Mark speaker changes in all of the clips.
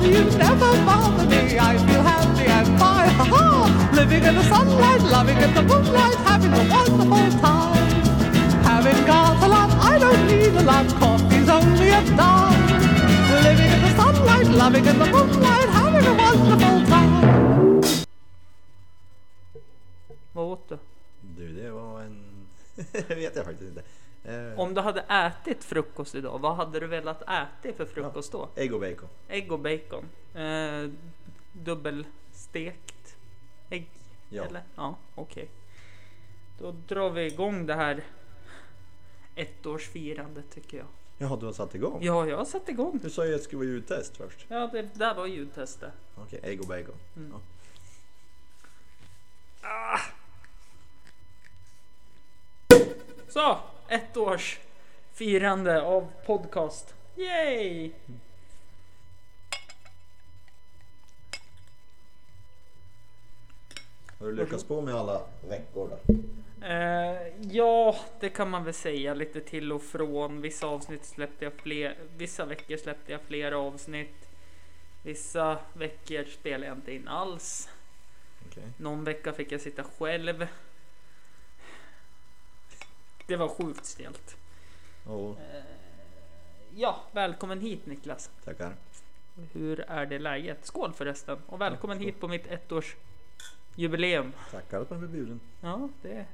Speaker 1: dreams never bother me. I feel happy and fine. Ha ha! Living in the sunlight, loving in the moonlight, having a wonderful time. Having got a lot, I don't need a lot. Coffee's only a dime. Living in the sunlight, loving in the moonlight, having a wonderful time.
Speaker 2: Vad åt du?
Speaker 3: Du, det var en... det vet jag faktiskt inte. Eh,
Speaker 2: Om du hade ätit frukost idag, vad hade du velat äta för frukost då?
Speaker 3: Ägg och bacon.
Speaker 2: Ägg och bacon. Eh, dubbelstekt ägg?
Speaker 3: Ja.
Speaker 2: Eller? Ja, okej. Då drar vi igång det här ettårsfirandet tycker jag.
Speaker 3: Jaha, du har satt igång?
Speaker 2: Ja, jag har satt igång.
Speaker 3: Du sa ju att det skulle vara ljudtest först.
Speaker 2: Ja, det där var ljudtestet.
Speaker 3: Okej, ägg och bacon.
Speaker 2: Mm.
Speaker 3: Ja.
Speaker 2: Så! Ett års firande av podcast. Yay!
Speaker 3: Har du lyckats på med alla veckor då?
Speaker 2: Eh, ja, det kan man väl säga lite till och från. Vissa avsnitt släppte jag fler, vissa veckor släppte jag flera avsnitt. Vissa veckor spelade jag inte in alls.
Speaker 3: Okej.
Speaker 2: Någon vecka fick jag sitta själv. Det var sjukt stelt.
Speaker 3: Åh,
Speaker 2: Ja, välkommen hit Niklas.
Speaker 3: tackar.
Speaker 2: Hur är det läget? Skål förresten och välkommen
Speaker 3: skål.
Speaker 2: hit på mitt ettårs jubileum.
Speaker 3: Tackar att man blir bjuden.
Speaker 2: Ja, det...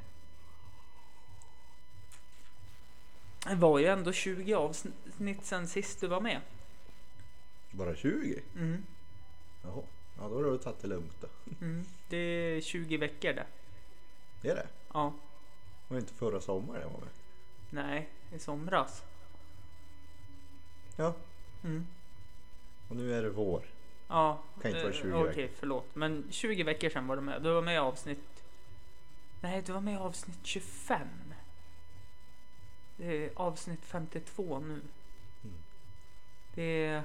Speaker 2: Det var ju ändå 20 avsnitt sen sist du var med.
Speaker 3: Bara 20?
Speaker 2: Mm.
Speaker 3: Jaha. Ja, då har du tagit det lugnt då.
Speaker 2: Mm. Det är 20 veckor det.
Speaker 3: Det är det?
Speaker 2: Ja,
Speaker 3: Var det inte förra sommaren jag var med?
Speaker 2: nej, i somras.
Speaker 3: Ja,
Speaker 2: Mm.
Speaker 3: och nu är det vår.
Speaker 2: Ja,
Speaker 3: Kan inte vara
Speaker 2: eh,
Speaker 3: 20
Speaker 2: Okej,
Speaker 3: veckor.
Speaker 2: förlåt. Men 20 veckor sedan var du med. Du var med i avsnitt... Nej, du var med i avsnitt 25. Det är avsnitt 52 nu.
Speaker 3: Mm.
Speaker 2: Det är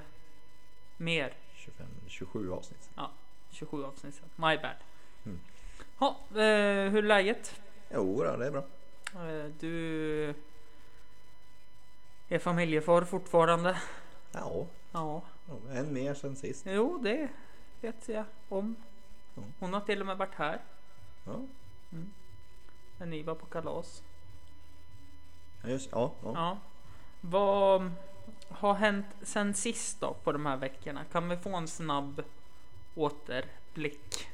Speaker 2: mer
Speaker 3: 25, 27 avsnitt.
Speaker 2: Ja, 27 avsnitt sen. My bad.
Speaker 3: Mm.
Speaker 2: Ha, eh, hur är läget?
Speaker 3: Jo, då, det är bra.
Speaker 2: Eh, du är familjefar fortfarande?
Speaker 3: Ja,
Speaker 2: Ja,
Speaker 3: ja, en mer sen sist.
Speaker 2: jo det vet jag om.
Speaker 3: Ja.
Speaker 2: Hon har till och med varit här
Speaker 3: Ja,
Speaker 2: när ni var på kalas.
Speaker 3: ja, just, ja, ja.
Speaker 2: Ja. Vad har hänt sen sist då på de här veckorna? Kan vi få en snabb återblick?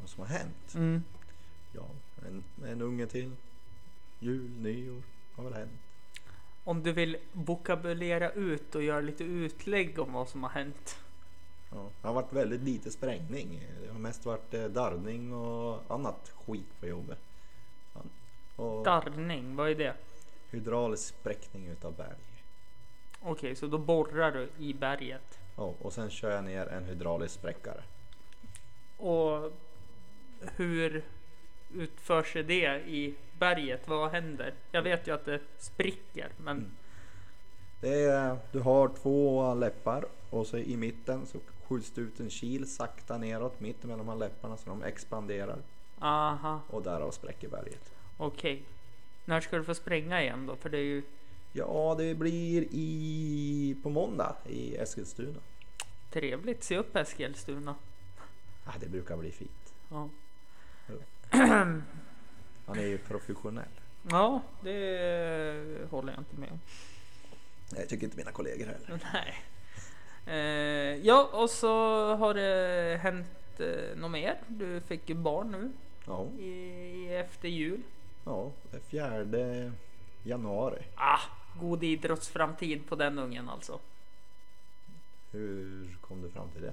Speaker 3: vad som har hänt.
Speaker 2: Mm.
Speaker 3: Ja, en, en unge till. Jul, nyår har väl hänt.
Speaker 2: Om du vill vokabulera ut och göra lite utlägg om vad som har hänt.
Speaker 3: Ja, det har varit väldigt lite sprängning. Det har mest varit eh, darrning och annat skit på jobbet. Ja, Och
Speaker 2: Darrning, vad är det?
Speaker 3: hydraulisk spräckning utav berg.
Speaker 2: Okej, så då borrar du i berget.
Speaker 3: Ja, och sen kör jag ner en hydraulisk spräckare.
Speaker 2: Och hur utför sig det i berget? Vad händer? Jag vet ju att det spricker, men
Speaker 3: Det är, eh, du har två läppar och så i mitten så skjuts det ut en kil sakta neråt mitt mellan de här läpparna så de expanderar
Speaker 2: aha,
Speaker 3: och därav spräcker berget.
Speaker 2: okej. När ska du få spränga igen då? För det är ju...
Speaker 3: Ja, det blir i, på måndag i Eskilstuna.
Speaker 2: Trevligt, se upp Eskilstuna.
Speaker 3: Ah, det brukar bli fint.
Speaker 2: Ja,
Speaker 3: Han är ju professionell.
Speaker 2: ja det håller jag inte med om.
Speaker 3: Jag tycker inte mina kollegor heller.
Speaker 2: Nej. Eh, ja, och så har det hänt eh, något mer. Du fick ju barn nu
Speaker 3: Ja,
Speaker 2: i, efter jul.
Speaker 3: ja det är fjärde januari.
Speaker 2: Ah, god idrottsframtid på den ungen alltså.
Speaker 3: Hur kom du fram till det?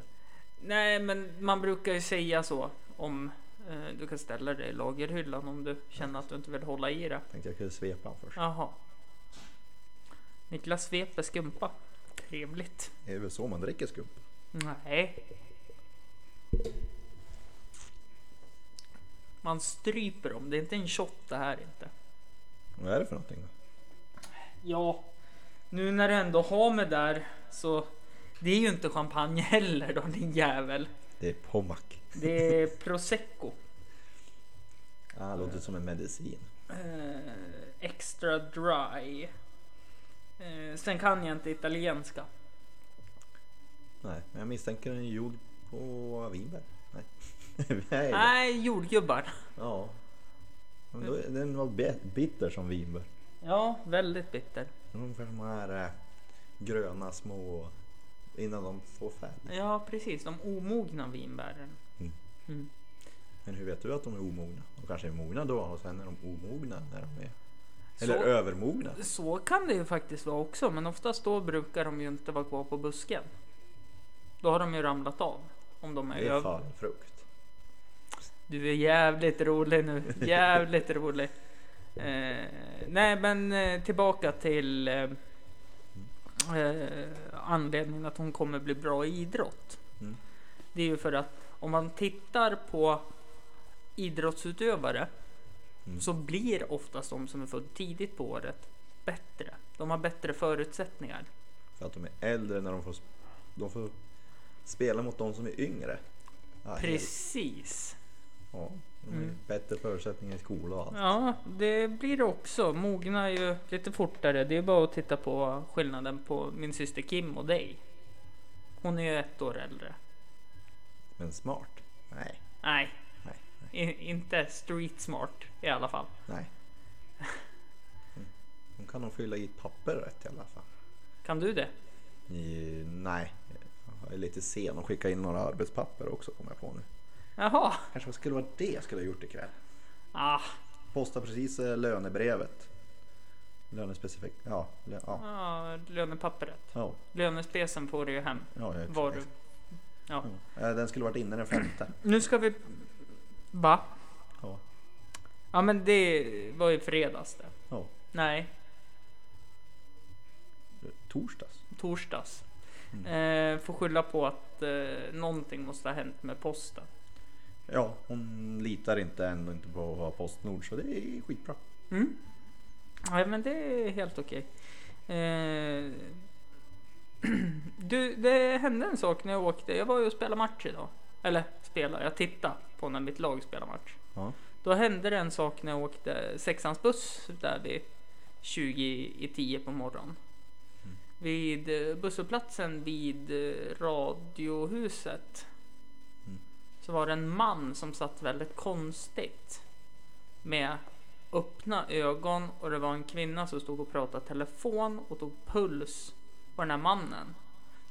Speaker 2: Nej, men man brukar ju säga så om eh, du kan ställa det i lagerhyllan om du känner att du inte vill hålla i det.
Speaker 3: Tänkte jag kunde svepa honom först.
Speaker 2: Jaha. Niklas sveper skumpa. Trevligt.
Speaker 3: Det är väl så man dricker skumpa?
Speaker 2: Nej. Man stryper dem. Det är inte en shot det här inte.
Speaker 3: Vad är det för någonting då?
Speaker 2: Ja, nu när du ändå har mig där så det är ju inte champagne heller då din jävel.
Speaker 3: Det är pommack.
Speaker 2: Det är prosecco.
Speaker 3: Ah, låter som en medicin.
Speaker 2: Eh, extra dry. Eh, sen kan jag inte italienska.
Speaker 3: Nej, men jag misstänker den är gjord på vinbär. Nej. Nej.
Speaker 2: Nej, jordgubbar.
Speaker 3: Ja. Men då, den var bi- bitter som vinbär.
Speaker 2: Ja, väldigt bitter.
Speaker 3: Ungefär som de här eh, gröna små innan de får färg.
Speaker 2: Ja, precis. De omogna vinbären.
Speaker 3: Mm.
Speaker 2: Mm.
Speaker 3: Men hur vet du att de är omogna? De kanske är mogna då och sen är de omogna när de är...
Speaker 2: Så-
Speaker 3: Eller övermogna.
Speaker 2: Så kan det ju faktiskt vara också, men oftast då brukar de ju inte vara kvar på busken. Då har de ju ramlat av. Om de är
Speaker 3: Det är
Speaker 2: över.
Speaker 3: fallfrukt.
Speaker 2: Du är jävligt rolig nu. Jävligt rolig. Eh, nej, men eh, tillbaka till eh, eh, anledningen att hon kommer bli bra i idrott.
Speaker 3: Mm.
Speaker 2: Det är ju för att om man tittar på idrottsutövare
Speaker 3: Mm.
Speaker 2: så blir oftast de som är född tidigt på året bättre. De har bättre förutsättningar.
Speaker 3: För att de är äldre när de får, sp- de får spela mot de som är yngre. Ja, helt-
Speaker 2: Precis.
Speaker 3: Ja, de har ju
Speaker 2: Mm.
Speaker 3: bättre förutsättningar i skola och allt.
Speaker 2: Ja, det blir det också. Mognar ju lite fortare. Det är bara att titta på skillnaden på min syster Kim och dig. Hon är ju ett år äldre.
Speaker 3: Men smart? Nej,
Speaker 2: Nej,
Speaker 3: nej, nej.
Speaker 2: i- inte street smart i alla fall.
Speaker 3: nej. Mm. De kan nog fylla i ett papper rätt i alla fall.
Speaker 2: Kan du det?
Speaker 3: I, nej, jag är lite sen och skicka in några arbetspapper också kommer jag på nu.
Speaker 2: Jaha.
Speaker 3: Kanske vad skulle vara det jag skulle ha gjort ikväll.
Speaker 2: Ah,
Speaker 3: Posta precis eh, lönebrevet. Lönespecifikt. Ja, lö, ja.
Speaker 2: ja, lönepapperet.
Speaker 3: ja,
Speaker 2: Lönespecen får du ju hem.
Speaker 3: ja, ja,
Speaker 2: Var du.
Speaker 3: exakt.
Speaker 2: Ja.
Speaker 3: Ja. Eh, Den skulle varit inne den femte.
Speaker 2: Nu ska vi... Va?
Speaker 3: Ja,
Speaker 2: Ja men det var ju fredags det.
Speaker 3: ja.
Speaker 2: Nej,
Speaker 3: Torsdags.
Speaker 2: torsdags.
Speaker 3: Mm.
Speaker 2: Eh, får skylla på att eh, någonting måste ha hänt med posten.
Speaker 3: Ja, hon litar inte ändå inte på vad Postnord så det är skitbra.
Speaker 2: Mm. Ja, men det är helt okej. Eh, du, det hände en sak när jag åkte. Jag var ju och spelade match idag. Eller spelade, jag tittade på när mitt lag spelade match.
Speaker 3: Ja.
Speaker 2: Då hände det en sak när jag åkte sexans buss där vid 20 i 10 på morgonen. Vid eh, busshållplatsen vid eh, radiohuset
Speaker 3: Mm.
Speaker 2: så var det en man som satt väldigt konstigt med öppna ögon och det var en kvinna som stod och pratade telefon och tog puls på den här mannen.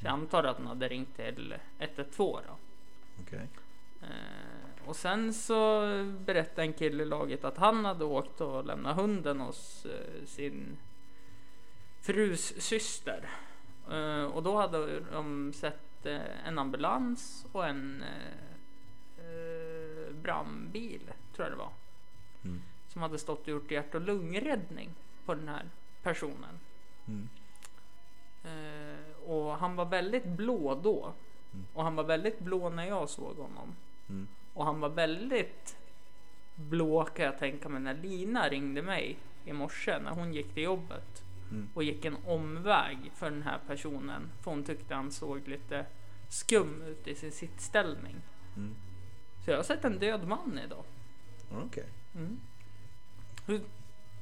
Speaker 2: Så jag antar att han hade ringt till 112 då.
Speaker 3: Okej.
Speaker 2: Eh, Och sen så berättade en kille i laget att han hade åkt och lämnat hunden hos eh, sin frus syster. Eh, Och då hade de sett eh, en ambulans och en eh, eh, brandbil, tror jag det var.
Speaker 3: Mm.
Speaker 2: Som hade stått och gjort hjärt och lungräddning på den här personen.
Speaker 3: Mm.
Speaker 2: Eh, Och han var väldigt blå då.
Speaker 3: Mm.
Speaker 2: Och han var väldigt blå när jag såg honom.
Speaker 3: Mm.
Speaker 2: Och han var väldigt blå kan jag tänka mig när Lina ringde mig i morse när hon gick till jobbet
Speaker 3: Mm.
Speaker 2: och gick en omväg för den här personen för hon tyckte han såg lite skum ut i sin sittställning.
Speaker 3: Mm.
Speaker 2: Så jag har sett en död man idag.
Speaker 3: Okej.
Speaker 2: Mm. Hur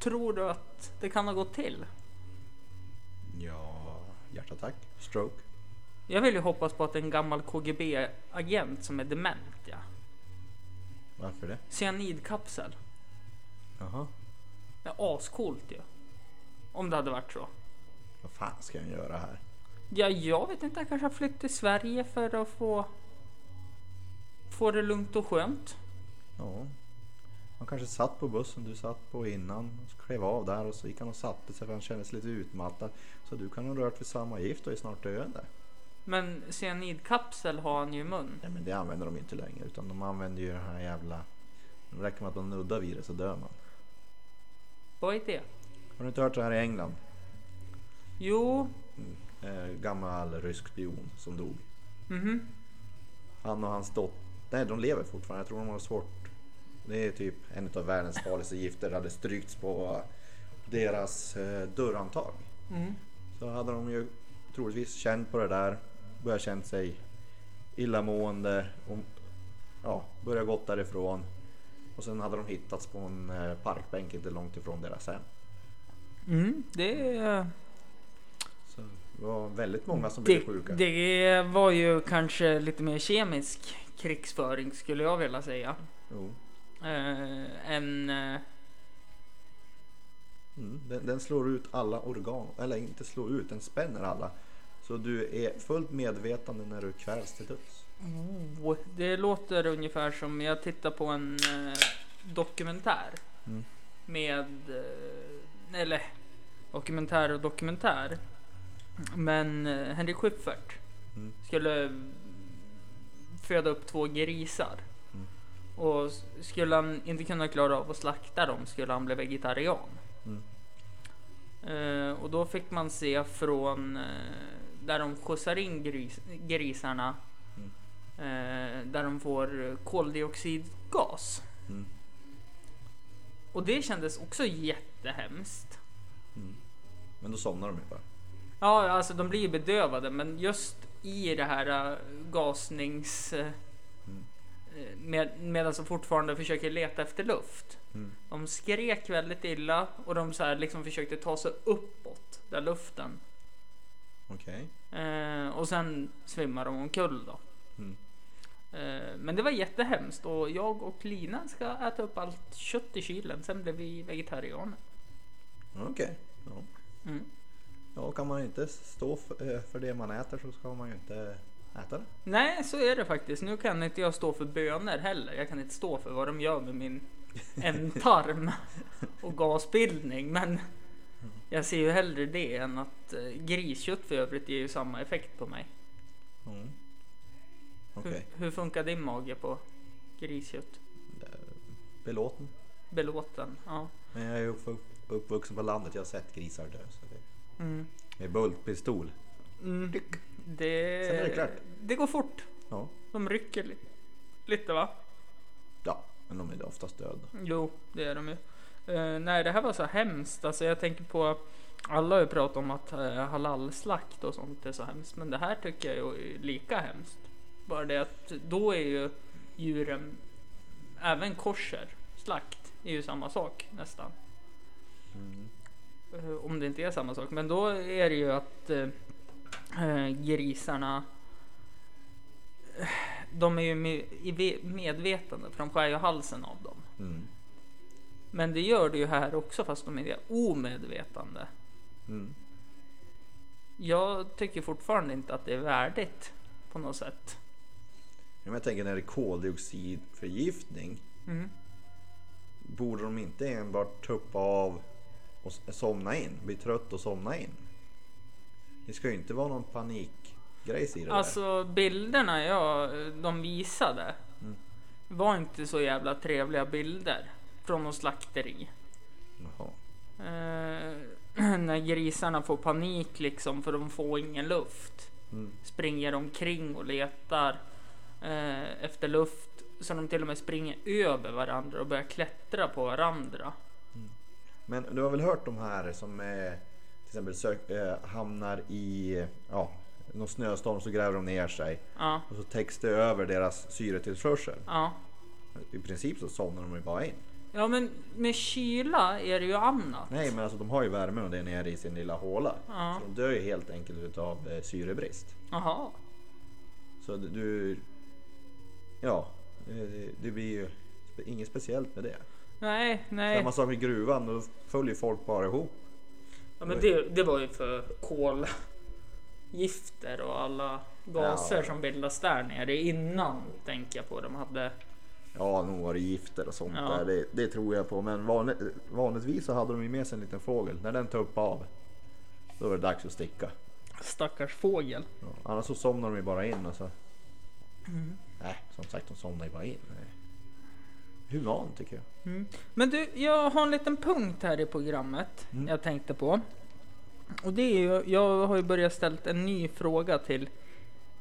Speaker 2: tror du att det kan ha gått till?
Speaker 3: Ja, hjärtattack, stroke.
Speaker 2: Jag vill ju hoppas på att det är en gammal KGB-agent som är dement. Ja.
Speaker 3: Varför det?
Speaker 2: Cyanidkapsel.
Speaker 3: Jaha.
Speaker 2: Det är ascoolt ju. Om det hade varit så.
Speaker 3: Vad fan ska jag göra här?
Speaker 2: Ja, jag vet inte. Han kanske har flytt till Sverige för att få, få det lugnt och skönt.
Speaker 3: Ja. Han kanske satt på bussen du satt på innan. och Så klev av där och så gick han och satte sig för han kändes lite utmattad. Så du kan ha rört vid samma gift och är snart döende.
Speaker 2: Men cyanidkapsel har han ju i mun.
Speaker 3: Nej men det använder de inte längre utan de använder ju den här jävla... Det räcker med att man nuddar vid det så dör man.
Speaker 2: Vad är det?
Speaker 3: Har du inte hört det här i England?
Speaker 2: Jo,
Speaker 3: Eh, gammal rysk spion som dog.
Speaker 2: mhm.
Speaker 3: Han och hans dotter. Nej, de lever fortfarande. Jag tror de har svårt. Det är typ en av världens farligaste gifter. Det hade strykts på deras eh, dörrhandtag.
Speaker 2: Mm.
Speaker 3: Så hade de ju troligtvis känt på det där. Börjat känt sig illamående. Och, ja, börjat gått därifrån. Och sen hade de hittats på en eh, parkbänk inte långt ifrån deras hem.
Speaker 2: Mm, det är...
Speaker 3: Så Det var väldigt många som blev
Speaker 2: Det,
Speaker 3: sjuka.
Speaker 2: det var ju kanske lite mer kemisk krigsföring skulle jag vilja säga.
Speaker 3: Jo.
Speaker 2: Eh, än, eh,
Speaker 3: Mm. Den, den slår ut alla organ, eller inte slår ut, den spänner alla. Så du är fullt medvetande när du kvävs till döds.
Speaker 2: oh, det låter ungefär som jag tittar på en eh, dokumentär.
Speaker 3: Mm.
Speaker 2: Med, eh, eller dokumentär och dokumentär. Men eh, Henrik Schyffert
Speaker 3: Mm.
Speaker 2: skulle föda upp två grisar.
Speaker 3: Mm.
Speaker 2: Och s- skulle han inte kunna klara av att slakta dem skulle han bli vegetarian.
Speaker 3: Mm.
Speaker 2: Eh, och då fick man se från eh, där de skjutsar in gris, grisarna.
Speaker 3: Mm.
Speaker 2: Eh, där de får eh, koldioxidgas.
Speaker 3: Mm.
Speaker 2: Och det kändes också jättehemskt.
Speaker 3: Mm. Men då somnar de ju bara.
Speaker 2: Ja, alltså de blir ju bedövade, men just i det här äh, gasnings... Äh,
Speaker 3: Mm.
Speaker 2: med, medan de fortfarande försöker leta efter luft.
Speaker 3: Mm.
Speaker 2: De skrek väldigt illa och de så här liksom försökte ta sig uppåt där luften.
Speaker 3: Okej.
Speaker 2: Eh, och sen svimmade de omkull då.
Speaker 3: Mm.
Speaker 2: Eh, men det var jättehemskt och jag och Lina ska äta upp allt kött i kylen. Sen blev vi vegetarianer.
Speaker 3: Okej. Ja.
Speaker 2: Mm.
Speaker 3: ja, kan man inte stå för, eh, för det man äter så ska man ju inte äta det.
Speaker 2: Nej, så är det faktiskt. Nu kan inte jag stå för böner heller. Jag kan inte stå för vad de gör med min ändtarm och gasbildning. Men
Speaker 3: Mm.
Speaker 2: jag ser ju hellre det än att eh, griskött för övrigt ger ju samma effekt på mig.
Speaker 3: Mm. Okej.
Speaker 2: Hur, hur funkar din mage på griskött?
Speaker 3: Eh, Belåten.
Speaker 2: Belåten? Ja.
Speaker 3: Men jag är ju upp- uppvuxen på landet, jag har sett grisar dö. Så det...
Speaker 2: Mm.
Speaker 3: Med bultpistol.
Speaker 2: Mm. Det,
Speaker 3: Sen är det klart.
Speaker 2: det går fort.
Speaker 3: Ja.
Speaker 2: De rycker li- lite va?
Speaker 3: ja, men de är oftast döda.
Speaker 2: Jo, det är de ju. Eh, nej, det här var så hemskt. Alltså, jag tänker på alla har ju pratat om att uh, halalslakt och sånt är så hemskt, men det här tycker jag ju är lika hemskt. Bara det att då är ju djuren, även korser, slakt, är ju samma sak nästan.
Speaker 3: Mm.
Speaker 2: Eh, om det inte är samma sak, men då är det ju att eh, eh, grisarna eh, de är ju med, i ve- medvetande för de skär ju halsen av dem.
Speaker 3: Mm.
Speaker 2: Men det gör det ju här också fast de är omedvetande.
Speaker 3: Mm.
Speaker 2: Jag tycker fortfarande inte att det är värdigt på något sätt.
Speaker 3: Ja, men jag tänker när det är koldioxidförgiftning.
Speaker 2: Mm.
Speaker 3: Borde de inte enbart tuppa av och s- somna in? Bli trött och somna in? Det ska ju inte vara någon panikgrej i det där.
Speaker 2: Alltså bilderna jag, de visade
Speaker 3: Mm.
Speaker 2: var inte så jävla trevliga bilder från något slakteri.
Speaker 3: Jaha.
Speaker 2: Eh, när grisarna får panik liksom för de får ingen luft.
Speaker 3: Mm.
Speaker 2: Springer omkring och letar eh, efter luft. Så de till och med springer över varandra och börjar klättra på varandra.
Speaker 3: Men du har väl hört de här som eh, till exempel sök, eh, hamnar i eh, ja, någon snöstorm så gräver de ner sig
Speaker 2: Ja,
Speaker 3: och så täcks det över deras syretillförsel.
Speaker 2: ja.
Speaker 3: I princip så somnar de ju bara in.
Speaker 2: Ja men med kyla är det ju annat.
Speaker 3: Nej men alltså de har ju värme och det är nere i sin lilla håla.
Speaker 2: Ja.
Speaker 3: Så de dör ju helt enkelt utav eh, syrebrist.
Speaker 2: Jaha.
Speaker 3: Så d- du... Ja, eh, det, det blir ju spe- inget speciellt med det.
Speaker 2: Nej, nej.
Speaker 3: Samma sak med gruvan, då följer folk bara ihop.
Speaker 2: Ja, men det, det var ju för kolgifter och alla gaser
Speaker 3: Ja.
Speaker 2: som bildas där nere innan tänker jag på. De hade...
Speaker 3: Ja, nog var det gifter och sånt
Speaker 2: Ja.
Speaker 3: där, det, det tror jag på. Men vanligt, vanligtvis så hade de ju med sig en liten fågel. När den tuppade av, då var det dags att sticka.
Speaker 2: Stackars fågel.
Speaker 3: Ja, annars så somnar de ju bara in. Alltså.
Speaker 2: Mm.
Speaker 3: Nej, som sagt, de somnar ju bara in. Nej. Human tycker jag.
Speaker 2: Men du, jag har en liten punkt här i programmet jag tänkte på. Och det är ju, jag har ju börjat ställt en ny fråga till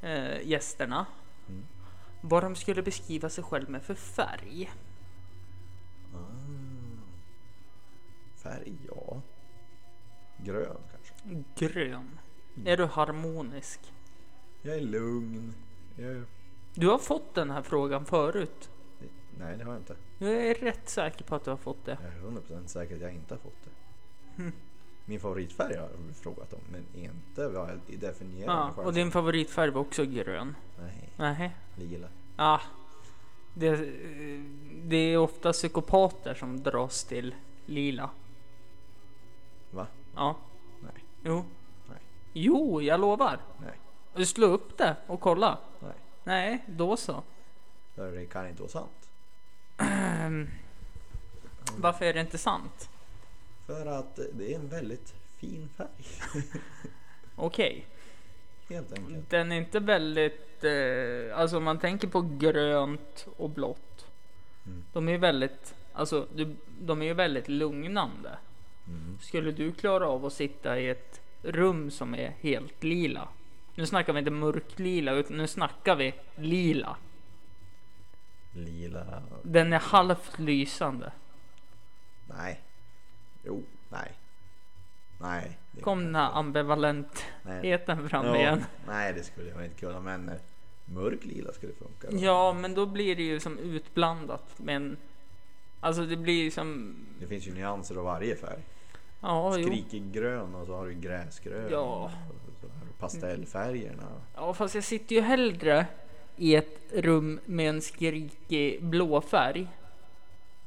Speaker 2: eh, gästerna. Vad de skulle beskriva sig själv med för färg. Ah.
Speaker 3: Färg, ja. Grön kanske.
Speaker 2: Grön. Är du harmonisk?
Speaker 3: Jag är lugn. Jag är...
Speaker 2: Du har fått den här frågan förut.
Speaker 3: Nej, det har jag inte.
Speaker 2: Jag är rätt säker på att du har fått det. Hm.
Speaker 3: Jag är 100% säker att jag inte har fått det. Min favoritfärg har jag frågat om, men inte vad jag definierar
Speaker 2: Ja,
Speaker 3: mig själv
Speaker 2: och
Speaker 3: som.
Speaker 2: din favoritfärg var också grön?
Speaker 3: Nej,
Speaker 2: Nej.
Speaker 3: lila.
Speaker 2: Ja. Det, eh, det är ofta psykopater som dras till lila.
Speaker 3: Va?
Speaker 2: Ja.
Speaker 3: Nej.
Speaker 2: Jo.
Speaker 3: Nej.
Speaker 2: Jo, jag lovar.
Speaker 3: Nej.
Speaker 2: Slå upp det och kolla.
Speaker 3: Nej.
Speaker 2: Nej, då så.
Speaker 3: För Det kan inte vara sant.
Speaker 2: Ehm, Varför är det inte sant?
Speaker 3: För att det är en väldigt fin färg.
Speaker 2: Okej,
Speaker 3: Helt enkelt.
Speaker 2: den är inte väldigt... Eh, alltså om man tänker på grönt och blått.
Speaker 3: Mm.
Speaker 2: De är ju väldigt, alltså, du, de är ju väldigt lugnande.
Speaker 3: Mm.
Speaker 2: Skulle du klara av att sitta i ett rum som är helt lila? Nu snackar vi inte mörklila, utan nu snackar vi lila.
Speaker 3: Lila.
Speaker 2: Den är halvt lysande.
Speaker 3: Nej. Jo, nej. Nej. det-
Speaker 2: Kom den här ambivalentheten
Speaker 3: nej.
Speaker 2: fram
Speaker 3: Ja,
Speaker 2: igen.
Speaker 3: Nej, det skulle jag inte kunna. Men eh, mörk lila skulle funka. va?
Speaker 2: Ja, men då blir det ju som utblandat. Men alltså det blir ju som...
Speaker 3: Det finns ju nyanser av varje färg.
Speaker 2: Ja, jo.
Speaker 3: Skrikig grön och så har du gräsgrön.
Speaker 2: Ja.
Speaker 3: Och så har du pastellfärgerna.
Speaker 2: Ja, fast jag sitter ju hellre i ett rum med en skrikig blå färg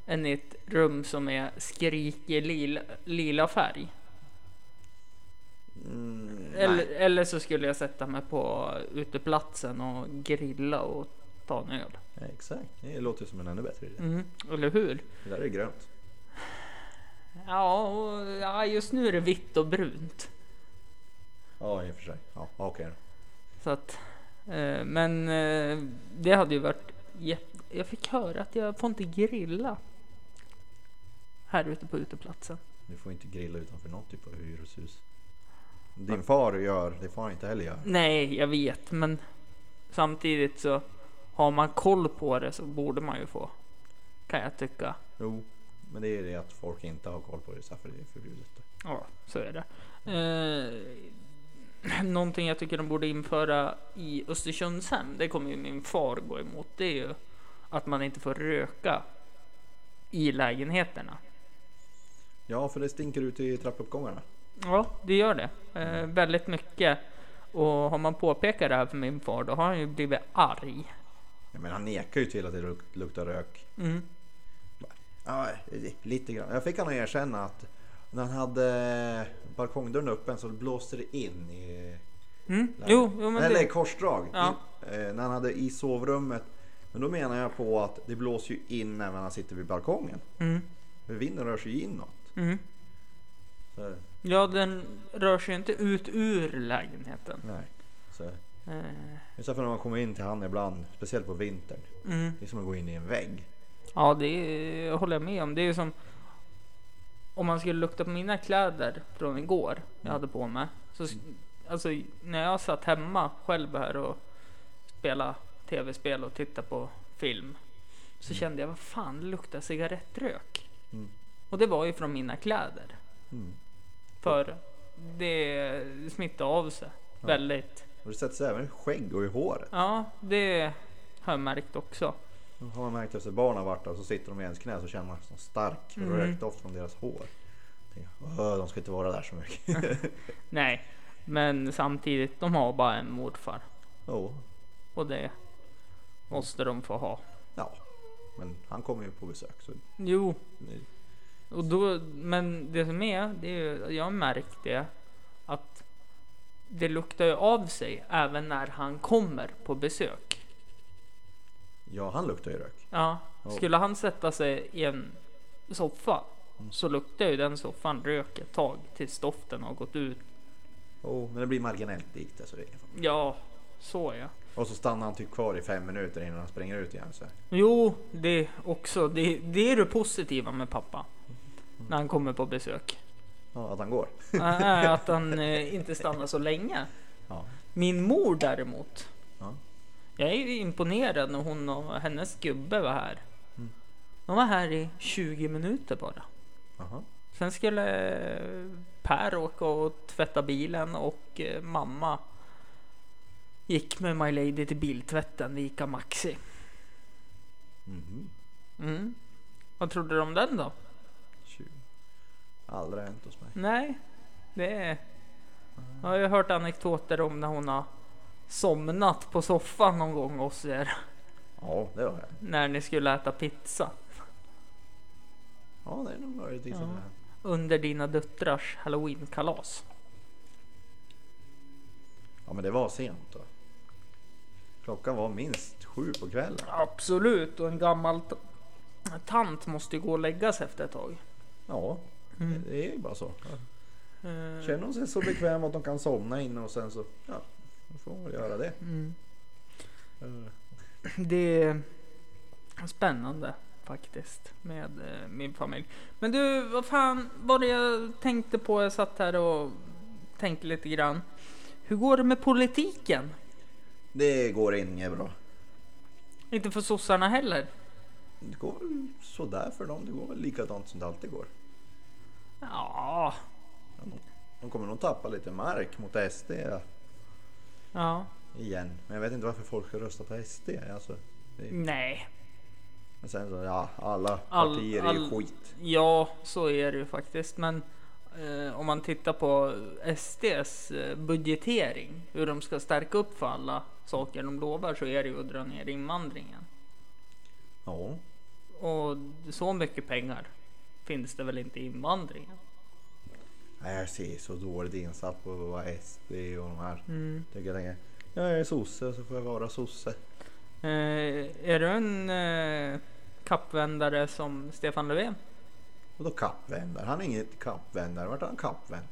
Speaker 2: än i ett rum som är skrikig lila, lila färg.
Speaker 3: Mm,
Speaker 2: Eller,
Speaker 3: nej.
Speaker 2: eller så skulle jag sätta mig på uteplatsen och grilla och ta en öl.
Speaker 3: nej, exakt. Det låter som en ännu bättre idé.
Speaker 2: Mm, eller hur?
Speaker 3: Det där är grönt.
Speaker 2: Ja, och, ja, just nu är det vitt och brunt.
Speaker 3: Ja, i och för sig. Ja, okej då.
Speaker 2: Så att, eh, men eh, det hade ju varit jätte... Jag fick höra att jag får inte grilla här ute på uteplatsen.
Speaker 3: Du får inte grilla utanför något typ av hyreshus. Din far gör, det får han inte heller göra.
Speaker 2: Nej, jag vet, men samtidigt så har man koll på det så borde man ju få. Kan jag tycka.
Speaker 3: Jo, men det är det att folk inte har koll på det så för det är förbjudet.
Speaker 2: Ja, så är det. Eh, någonting jag tycker de borde införa i Östersundshem, det kommer ju min far gå emot, det är ju att man inte får röka i lägenheterna.
Speaker 3: Ja, för det stinker ut i trappuppgångarna.
Speaker 2: Ja, det gör det. Eh, väldigt mycket. Och har man påpekat det här för min far, då har han ju blivit arg.
Speaker 3: Jag menar, han nekar ju till att det luk- luktar rök.
Speaker 2: Mm.
Speaker 3: Ja, lite grann. Jag fick han att erkänna att när han hade balkongdörren öppen så blåste det in i...
Speaker 2: Mm. Jo, jo, men
Speaker 3: Eller
Speaker 2: det...
Speaker 3: korsdrag.
Speaker 2: Ja.
Speaker 3: I, eh, när han hade i sovrummet. Men då menar jag på att det blåser ju in även när han sitter vid balkongen.
Speaker 2: Mm.
Speaker 3: För vinden rör sig ju inåt.
Speaker 2: Mm.
Speaker 3: Så,
Speaker 2: Ja, den rör sig ju inte ut ur lägenheten.
Speaker 3: nej. Så,
Speaker 2: Eh,
Speaker 3: Just därför när man kommer in till han ibland, speciellt på vintern.
Speaker 2: mm.
Speaker 3: Det är som att gå in i en vägg.
Speaker 2: Ja, det är- håller jag med om. Det är ju som om man skulle lukta på mina kläder från igår jag hade på mig. Så, s- alltså, när jag satt hemma själv här och spelade tv-spel och tittade på film så kände jag vad fan det luktar cigarettrök.
Speaker 3: Mm.
Speaker 2: Och det var ju från mina kläder.
Speaker 3: Mm.
Speaker 2: För det smittade av sig väldigt.
Speaker 3: Och det sätter sig även i skägg och i håret.
Speaker 2: Ja, det har jag märkt också.
Speaker 3: Har man märkt efter barn har varit där så sitter de i ens knä så känner man sån stark
Speaker 2: Mm.
Speaker 3: rökdoft från deras hår. Tänker jag, "Åh, De ska inte vara där så mycket.
Speaker 2: Nej, men samtidigt, de har bara en morfar.
Speaker 3: Jo,
Speaker 2: Och det måste de få ha.
Speaker 3: ja. Men han kommer ju på besök. Så
Speaker 2: Jo, och då, men det som är, det är ju, jag har märkt det, att det luktar ju av sig även när han kommer på besök.
Speaker 3: ja, han luktar ju rök.
Speaker 2: Ja,
Speaker 3: Ja.
Speaker 2: skulle han sätta sig i en soffa så luktar ju den soffan rök ett tag tills doften har gått ut.
Speaker 3: Jo, men det blir marginellt likt. Alltså det. är ingen fara.
Speaker 2: Ja, så ja.
Speaker 3: Och så stannar han typ kvar i fem minuter innan han springer ut igen. Så. här.
Speaker 2: Jo, det också. Det, det är det positiva med pappa. När han kommer på besök.
Speaker 3: Ja, att han går.
Speaker 2: Äh, äh, att han eh, inte stannar så länge.
Speaker 3: Ja.
Speaker 2: Min mor däremot.
Speaker 3: Ja.
Speaker 2: Jag är ju imponerad när hon och hennes gubbe var här. De var här i 20 minuter bara.
Speaker 3: Aha.
Speaker 2: Sen skulle eh, Per åka och tvätta bilen och eh, mamma gick med My Lady till biltvätten vid Ica Maxi.
Speaker 3: Mhm.
Speaker 2: Mm. Vad trodde du om den då?
Speaker 3: Tjugo. Aldrig hänt hos mig.
Speaker 2: Nej, Det är... Jag har ju hört anekdoter om när hon har somnat på soffan någon gång hos er.
Speaker 3: Ja, det har jag.
Speaker 2: När ni skulle äta pizza.
Speaker 3: Ja, det är nog möjligtvis
Speaker 2: Ja.
Speaker 3: att det är.
Speaker 2: Under dina döttrars halloweenkalas.
Speaker 3: Ja, men det var sent då. Klockan var minst sju på kvällen.
Speaker 2: Absolut, och en gammal t- tant måste ju gå och lägga sig efter ett tag.
Speaker 3: Ja,
Speaker 2: Mm.
Speaker 3: det är ju bara så.
Speaker 2: Eh,
Speaker 3: Känner de sig så bekväma att de kan somna inne och sen så, ja, då får man väl göra det.
Speaker 2: Mm.
Speaker 3: Eh,
Speaker 2: Det är spännande faktiskt med eh, min familj. Men du, vad fan var det jag tänkte på? Jag satt här och tänkte lite grann. Hur går det med politiken?
Speaker 3: Det går inget bra.
Speaker 2: Inte för sossarna heller.
Speaker 3: Det går väl sådär för dem. Det går väl likadant som det alltid går.
Speaker 2: Ja,
Speaker 3: Ja, de- De kommer nog tappa lite mark mot SD
Speaker 2: ja,
Speaker 3: igen. Men jag vet inte varför folk ska rösta på SD. Alltså, det,
Speaker 2: nej,
Speaker 3: men sen så, ja, alla
Speaker 2: All-
Speaker 3: partier är ju
Speaker 2: all-
Speaker 3: skit.
Speaker 2: ja, så är det ju faktiskt. Men eh, om man tittar på SDs eh, budgetering, hur de ska stärka upp för alla saker de lovar så är det ju att dra ner invandringen.
Speaker 3: Ja,
Speaker 2: Och så mycket pengar finns det väl inte i invandringen?
Speaker 3: Nej, jag ser så dåligt insatt på vad SD och de här tycker. Jag tänker, ja, jag är sosse så får jag vara sosse.
Speaker 2: Eh, är du en eh, kappvändare som Stefan Löfven?
Speaker 3: Och då kappvändare? Han är inget kappvändare. Vart är han kappvänd?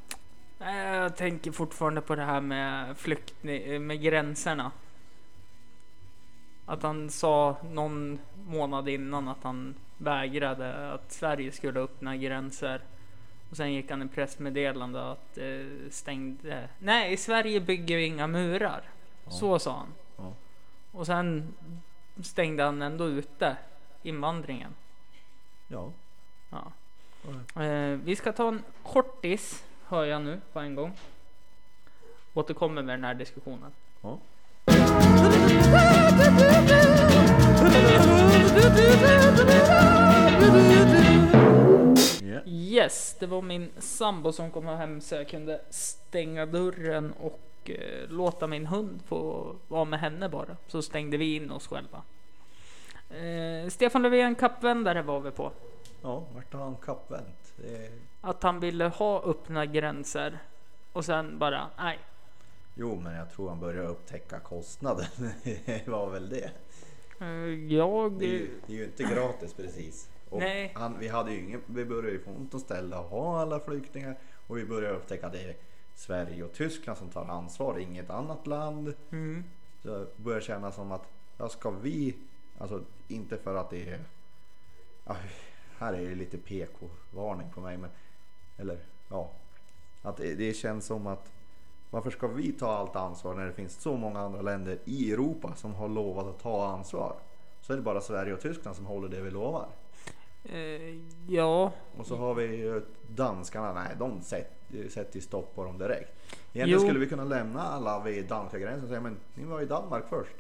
Speaker 2: Eh, jag tänker fortfarande på det här med flykt, med gränserna. Att han sa någon månad innan att han vägrade att Sverige skulle öppna gränser. Och sen gick han i pressmeddelande att eh, stängde. Nej, i Sverige bygger vi inga murar. Så sa han.
Speaker 3: Ja.
Speaker 2: Och sen stängde han ändå ute invandringen.
Speaker 3: Ja,
Speaker 2: Ja. Eh, vi ska ta en kortis, hör jag nu på en gång. Återkommer med den här diskussionen.
Speaker 3: ja. ja.
Speaker 2: Yes, det var min sambo som kom hem så jag kunde stänga dörren och eh, låta min hund få vara med henne bara. Så stängde vi in oss själva. Eh, Stefan Löfven kappvändare var vi på.
Speaker 3: ja vart har han kappvänd? Det är...
Speaker 2: Att han ville ha öppna gränser och sen bara nej.
Speaker 3: Jo, men jag tror han börjar upptäcka kostnaden. det var väl det.
Speaker 2: Eh, jag...
Speaker 3: Det är, ju, det är ju inte gratis precis. Och
Speaker 2: Nej.
Speaker 3: Han, vi, hade ju ingen, vi började ju få ont om ställe att ha alla flyktingar och vi började upptäcka att det är Sverige och Tyskland som tar ansvar, inget annat land.
Speaker 2: Mm.
Speaker 3: Så jag börjar känna som att, ja, ska vi, alltså inte för att det är, ja, här är det lite PK-varning på mig, men, eller ja, att det, det känns som att varför ska vi ta allt ansvar när det finns så många andra länder i Europa som har lovat att ta ansvar? Så är det bara Sverige och Tyskland som håller det vi lovar.
Speaker 2: Eh, ja,
Speaker 3: Och så har vi ju danskarna, nej de sätter sätt ju stopp på dem direkt. Egentligen
Speaker 2: Jo.
Speaker 3: skulle vi kunna lämna alla vid danska gränsen och säga men ni var i Danmark först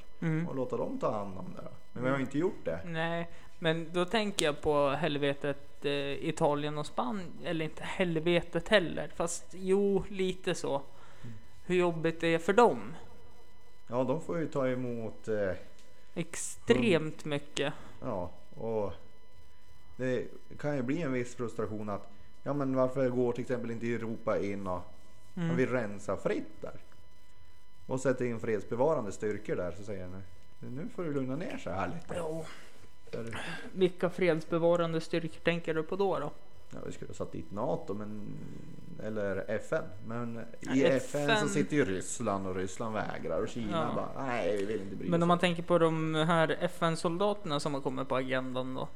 Speaker 3: och låta dem ta hand om det. då. Men vi har ju inte gjort det.
Speaker 2: nej, men då tänker jag på helvetet eh, Italien och Spanien, eller inte helvetet heller, fast jo, lite så. Hur jobbigt det är för dem.
Speaker 3: Ja, de får ju ta emot, eh,
Speaker 2: Extremt mycket.
Speaker 3: ja, och det kan ju bli en viss frustration att ja, men varför går till exempel inte Europa in och mm. vi rensar fritt där och sätter in fredsbevarande styrkor där så säger ni nu får du lugna ner sig här lite.
Speaker 2: Ja.
Speaker 3: Eller-
Speaker 2: Vilka fredsbevarande styrkor tänker du på då? då?
Speaker 3: Ja, vi skulle ha satt dit NATO men, eller FN. Men i
Speaker 2: Ja,
Speaker 3: FN, så
Speaker 2: FN.
Speaker 3: sitter ju Ryssland och Ryssland vägrar och Kina
Speaker 2: Ja.
Speaker 3: bara nej vi vill inte bry
Speaker 2: Men om
Speaker 3: oss.
Speaker 2: man tänker på de här FN-soldaterna som har kommit på agendan då,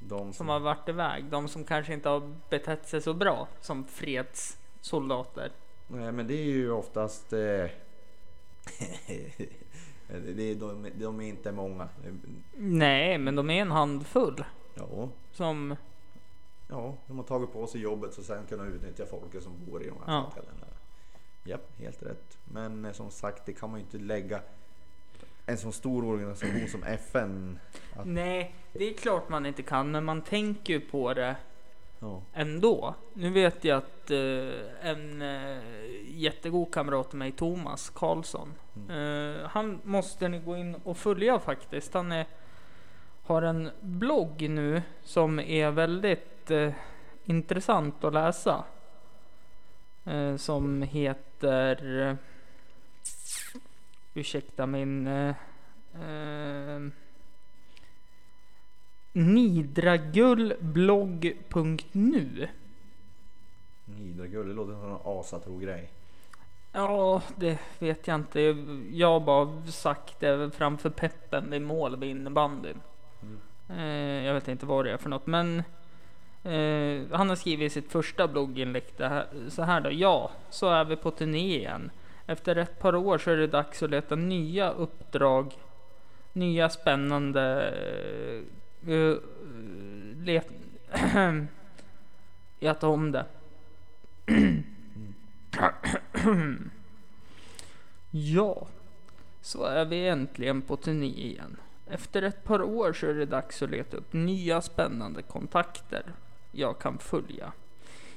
Speaker 3: De som,
Speaker 2: som har varit iväg, de som kanske inte har betett sig så bra som fredssoldater.
Speaker 3: Nej men det är ju oftast eh, det är, de, de är inte många.
Speaker 2: Nej, men de är en handfull
Speaker 3: Ja,
Speaker 2: som
Speaker 3: ja, de har tagit på sig jobbet så sen kunna utnyttja folket som bor i de här
Speaker 2: Ja.
Speaker 3: samhällena. Japp, helt rätt. Men eh, som sagt det kan man ju inte lägga en sån stor organisation som FN. Att,
Speaker 2: Nej, det är klart man inte kan, men man tänker ju på det
Speaker 3: Ja.
Speaker 2: ändå. Nu vet jag att eh, en eh, jättegod kamrat till mig, Thomas Karlsson, eh, han måste ni gå in och följa faktiskt. Han är, har en blogg nu som är väldigt eh, intressant att läsa. Eh, som heter... Eh, ursäkta min... Eh, eh, nidragullblogg.nu.
Speaker 3: Nidragull, det låter som en asatro grej.
Speaker 2: Ja, det vet jag inte. Jag har bara sagt det framför peppen vid mål vid innebandyn.
Speaker 3: Mm.
Speaker 2: Eh, jag vet inte vad det är för något, men eh, han har skrivit i sitt första blogginlägg det här, så här då. Ja, så är vi på turné igen. Efter ett par år så är det dags att leta nya uppdrag, nya spännande... Eh, eh, let, jag tar om det. Ja, så är vi äntligen på turné igen. Efter ett par år så är det dags att leta upp nya spännande kontakter jag kan följa.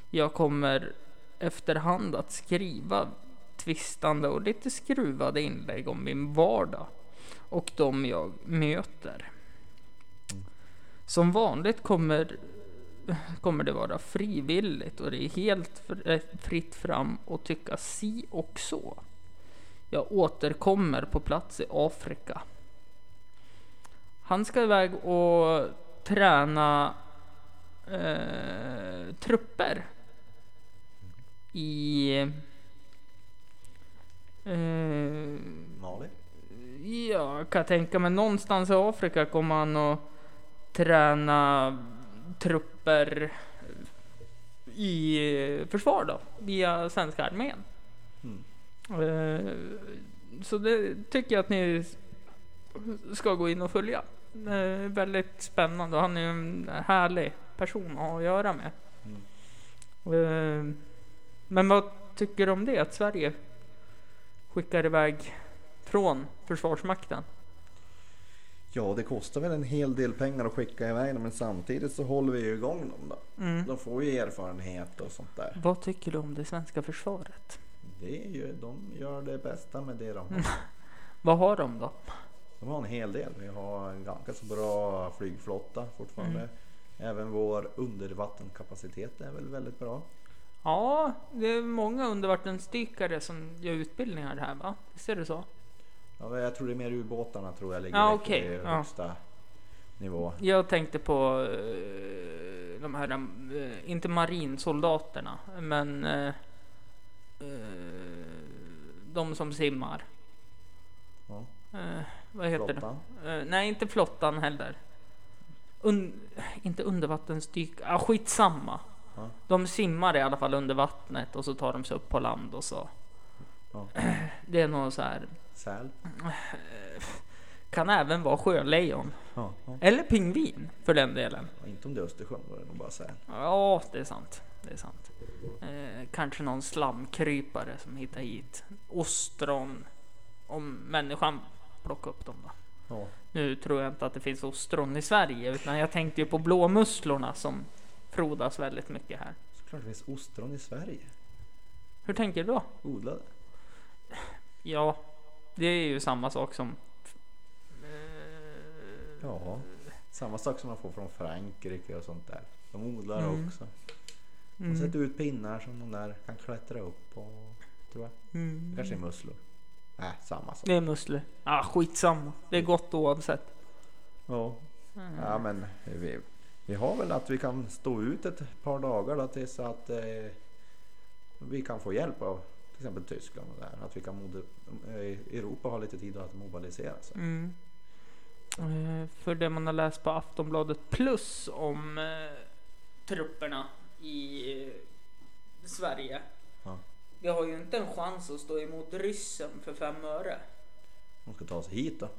Speaker 2: Jag kommer efterhand att skriva tvistande och lite skruvade inlägg om min vardag och de jag möter. Som vanligt kommer, kommer det vara frivilligt och det är helt fr- eh, fritt fram att tycka si och så. Jag återkommer på plats i Afrika. Han ska iväg och träna eh, trupper i, eh,
Speaker 3: Mali?
Speaker 2: ja, kan jag tänka mig någonstans i Afrika kommer han att träna trupper i eh, försvar då, via svenska armén.
Speaker 3: Mm.
Speaker 2: Eh, Så det tycker jag att ni ska gå in och följa. Eh, Väldigt spännande och han är ju en härlig person att ha att göra med.
Speaker 3: Mm.
Speaker 2: Eh, Men vad tycker du om det? Att Sverige skickar iväg från Försvarsmakten?
Speaker 3: Ja, det kostar väl en hel del pengar att skicka iväg dem men samtidigt så håller vi ju igång dem då.
Speaker 2: Mm.
Speaker 3: De får ju erfarenhet och sånt där.
Speaker 2: Vad tycker du om det svenska försvaret?
Speaker 3: Det är ju, de gör det bästa med det de har.
Speaker 2: Vad har de då?
Speaker 3: Mm. De har en hel del. Vi har en ganska så bra flygflotta fortfarande. Även vår undervattenkapacitet är väl väldigt bra.
Speaker 2: Ja, det är många undervattensdykare som gör utbildningar här va? Visst är det så?
Speaker 3: Ja, men jag tror det är mer ubåtarna tror jag ligger
Speaker 2: Ja,
Speaker 3: lite
Speaker 2: okej,
Speaker 3: i
Speaker 2: ja.
Speaker 3: högsta nivå.
Speaker 2: Jag tänkte på eh, de här, eh, inte marinsoldaterna, men eh, eh, de som simmar.
Speaker 3: Ja,
Speaker 2: Eh, vad heter
Speaker 3: flottan.
Speaker 2: det? Eh, nej, inte flottan heller. Un, inte undervattensdyk, ah, skitsamma.
Speaker 3: Ja.
Speaker 2: De simmar i alla fall under vattnet och så tar de sig upp på land och så.
Speaker 3: Ja.
Speaker 2: Det är nog så här.
Speaker 3: Säl.
Speaker 2: Kan även vara sjölejon.
Speaker 3: Ja, ja.
Speaker 2: Eller pingvin för den delen.
Speaker 3: Inte om det är Östersjön var det nog bara säl.
Speaker 2: Ja, det är sant. Det är sant. Eh, kanske någon slamkrypare som hittar hit. Ostron. Om människan plockar upp dem då.
Speaker 3: Ja.
Speaker 2: Nu tror jag inte att det finns ostron i Sverige, utan jag tänkte ju på blåmusslorna som frodas väldigt mycket här.
Speaker 3: Såklart det finns ostron i Sverige.
Speaker 2: Hur tänker du då?
Speaker 3: Odlade.
Speaker 2: Ja, det är ju samma sak som... Eh,
Speaker 3: Ja. Samma sak som man får från Frankrike och sånt där. De odlar
Speaker 2: Mm.
Speaker 3: också. De
Speaker 2: mm,
Speaker 3: sätter ut pinnar som de där kan klättra upp på. Tror jag.
Speaker 2: mm.
Speaker 3: Kanske är musslor. Nej, samma sak.
Speaker 2: Det är musslor. Ah, skitsamma. Det är gott oavsett.
Speaker 3: Ja.
Speaker 2: Mm.
Speaker 3: Ja men vi, vi har väl att vi kan stå ut ett par dagar då tills att eh, vi kan få hjälp av till exempel Tyskland och där. Att vi kan mod- eh, Europa har lite tid att mobilisera sig.
Speaker 2: Mm. Eh, För det man har läst på Aftonbladet plus om eh, trupperna i eh, Sverige.
Speaker 3: Ja.
Speaker 2: Vi har ju inte en chans att stå emot ryssen för fem öre.
Speaker 3: De ska ta sig hit då.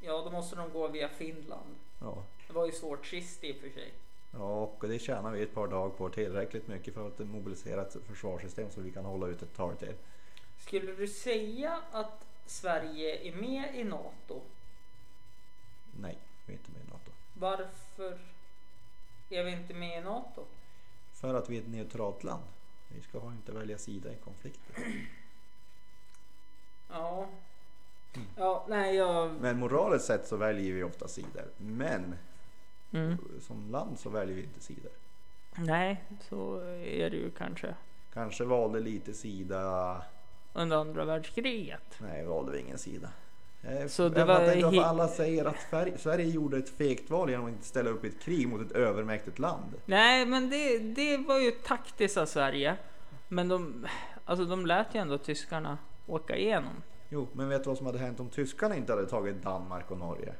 Speaker 2: Ja, då måste de gå via Finland.
Speaker 3: Ja.
Speaker 2: Det var ju svårt sist i och för sig.
Speaker 3: ja, och det tjänar vi ett par dagar på tillräckligt mycket för att mobilisera ett försvarssystem så vi kan hålla ut ett tag till.
Speaker 2: Skulle du säga att Sverige är med i NATO?
Speaker 3: Nej, vi är inte med i NATO.
Speaker 2: Varför? Är vi inte med i NATO?
Speaker 3: För att vi är ett neutralt land. Vi ska ha inte välja sida i konflikter.
Speaker 2: Ja. Ja, nej jag...
Speaker 3: Men moraliskt sett så väljer vi ofta sidor. Men
Speaker 2: Mm.
Speaker 3: som land så väljer vi inte sidor.
Speaker 2: Nej, så är det ju kanske.
Speaker 3: Kanske valde lite sida.
Speaker 2: Under andra världskriget.
Speaker 3: Nej, valde vi ingen sida. Eh,
Speaker 2: Så
Speaker 3: jag
Speaker 2: det var
Speaker 3: fattar inte varför
Speaker 2: he-
Speaker 3: alla säger att Sverige, Sverige gjorde ett fegt val genom att inte ställa upp i ett krig mot ett övermäktigt land.
Speaker 2: Nej, men det, det var ju taktiskt av Sverige. Men de, alltså de lät ju ändå tyskarna åka igenom.
Speaker 3: Jo, men vet du vad som hade hänt om tyskarna inte hade tagit Danmark och Norge?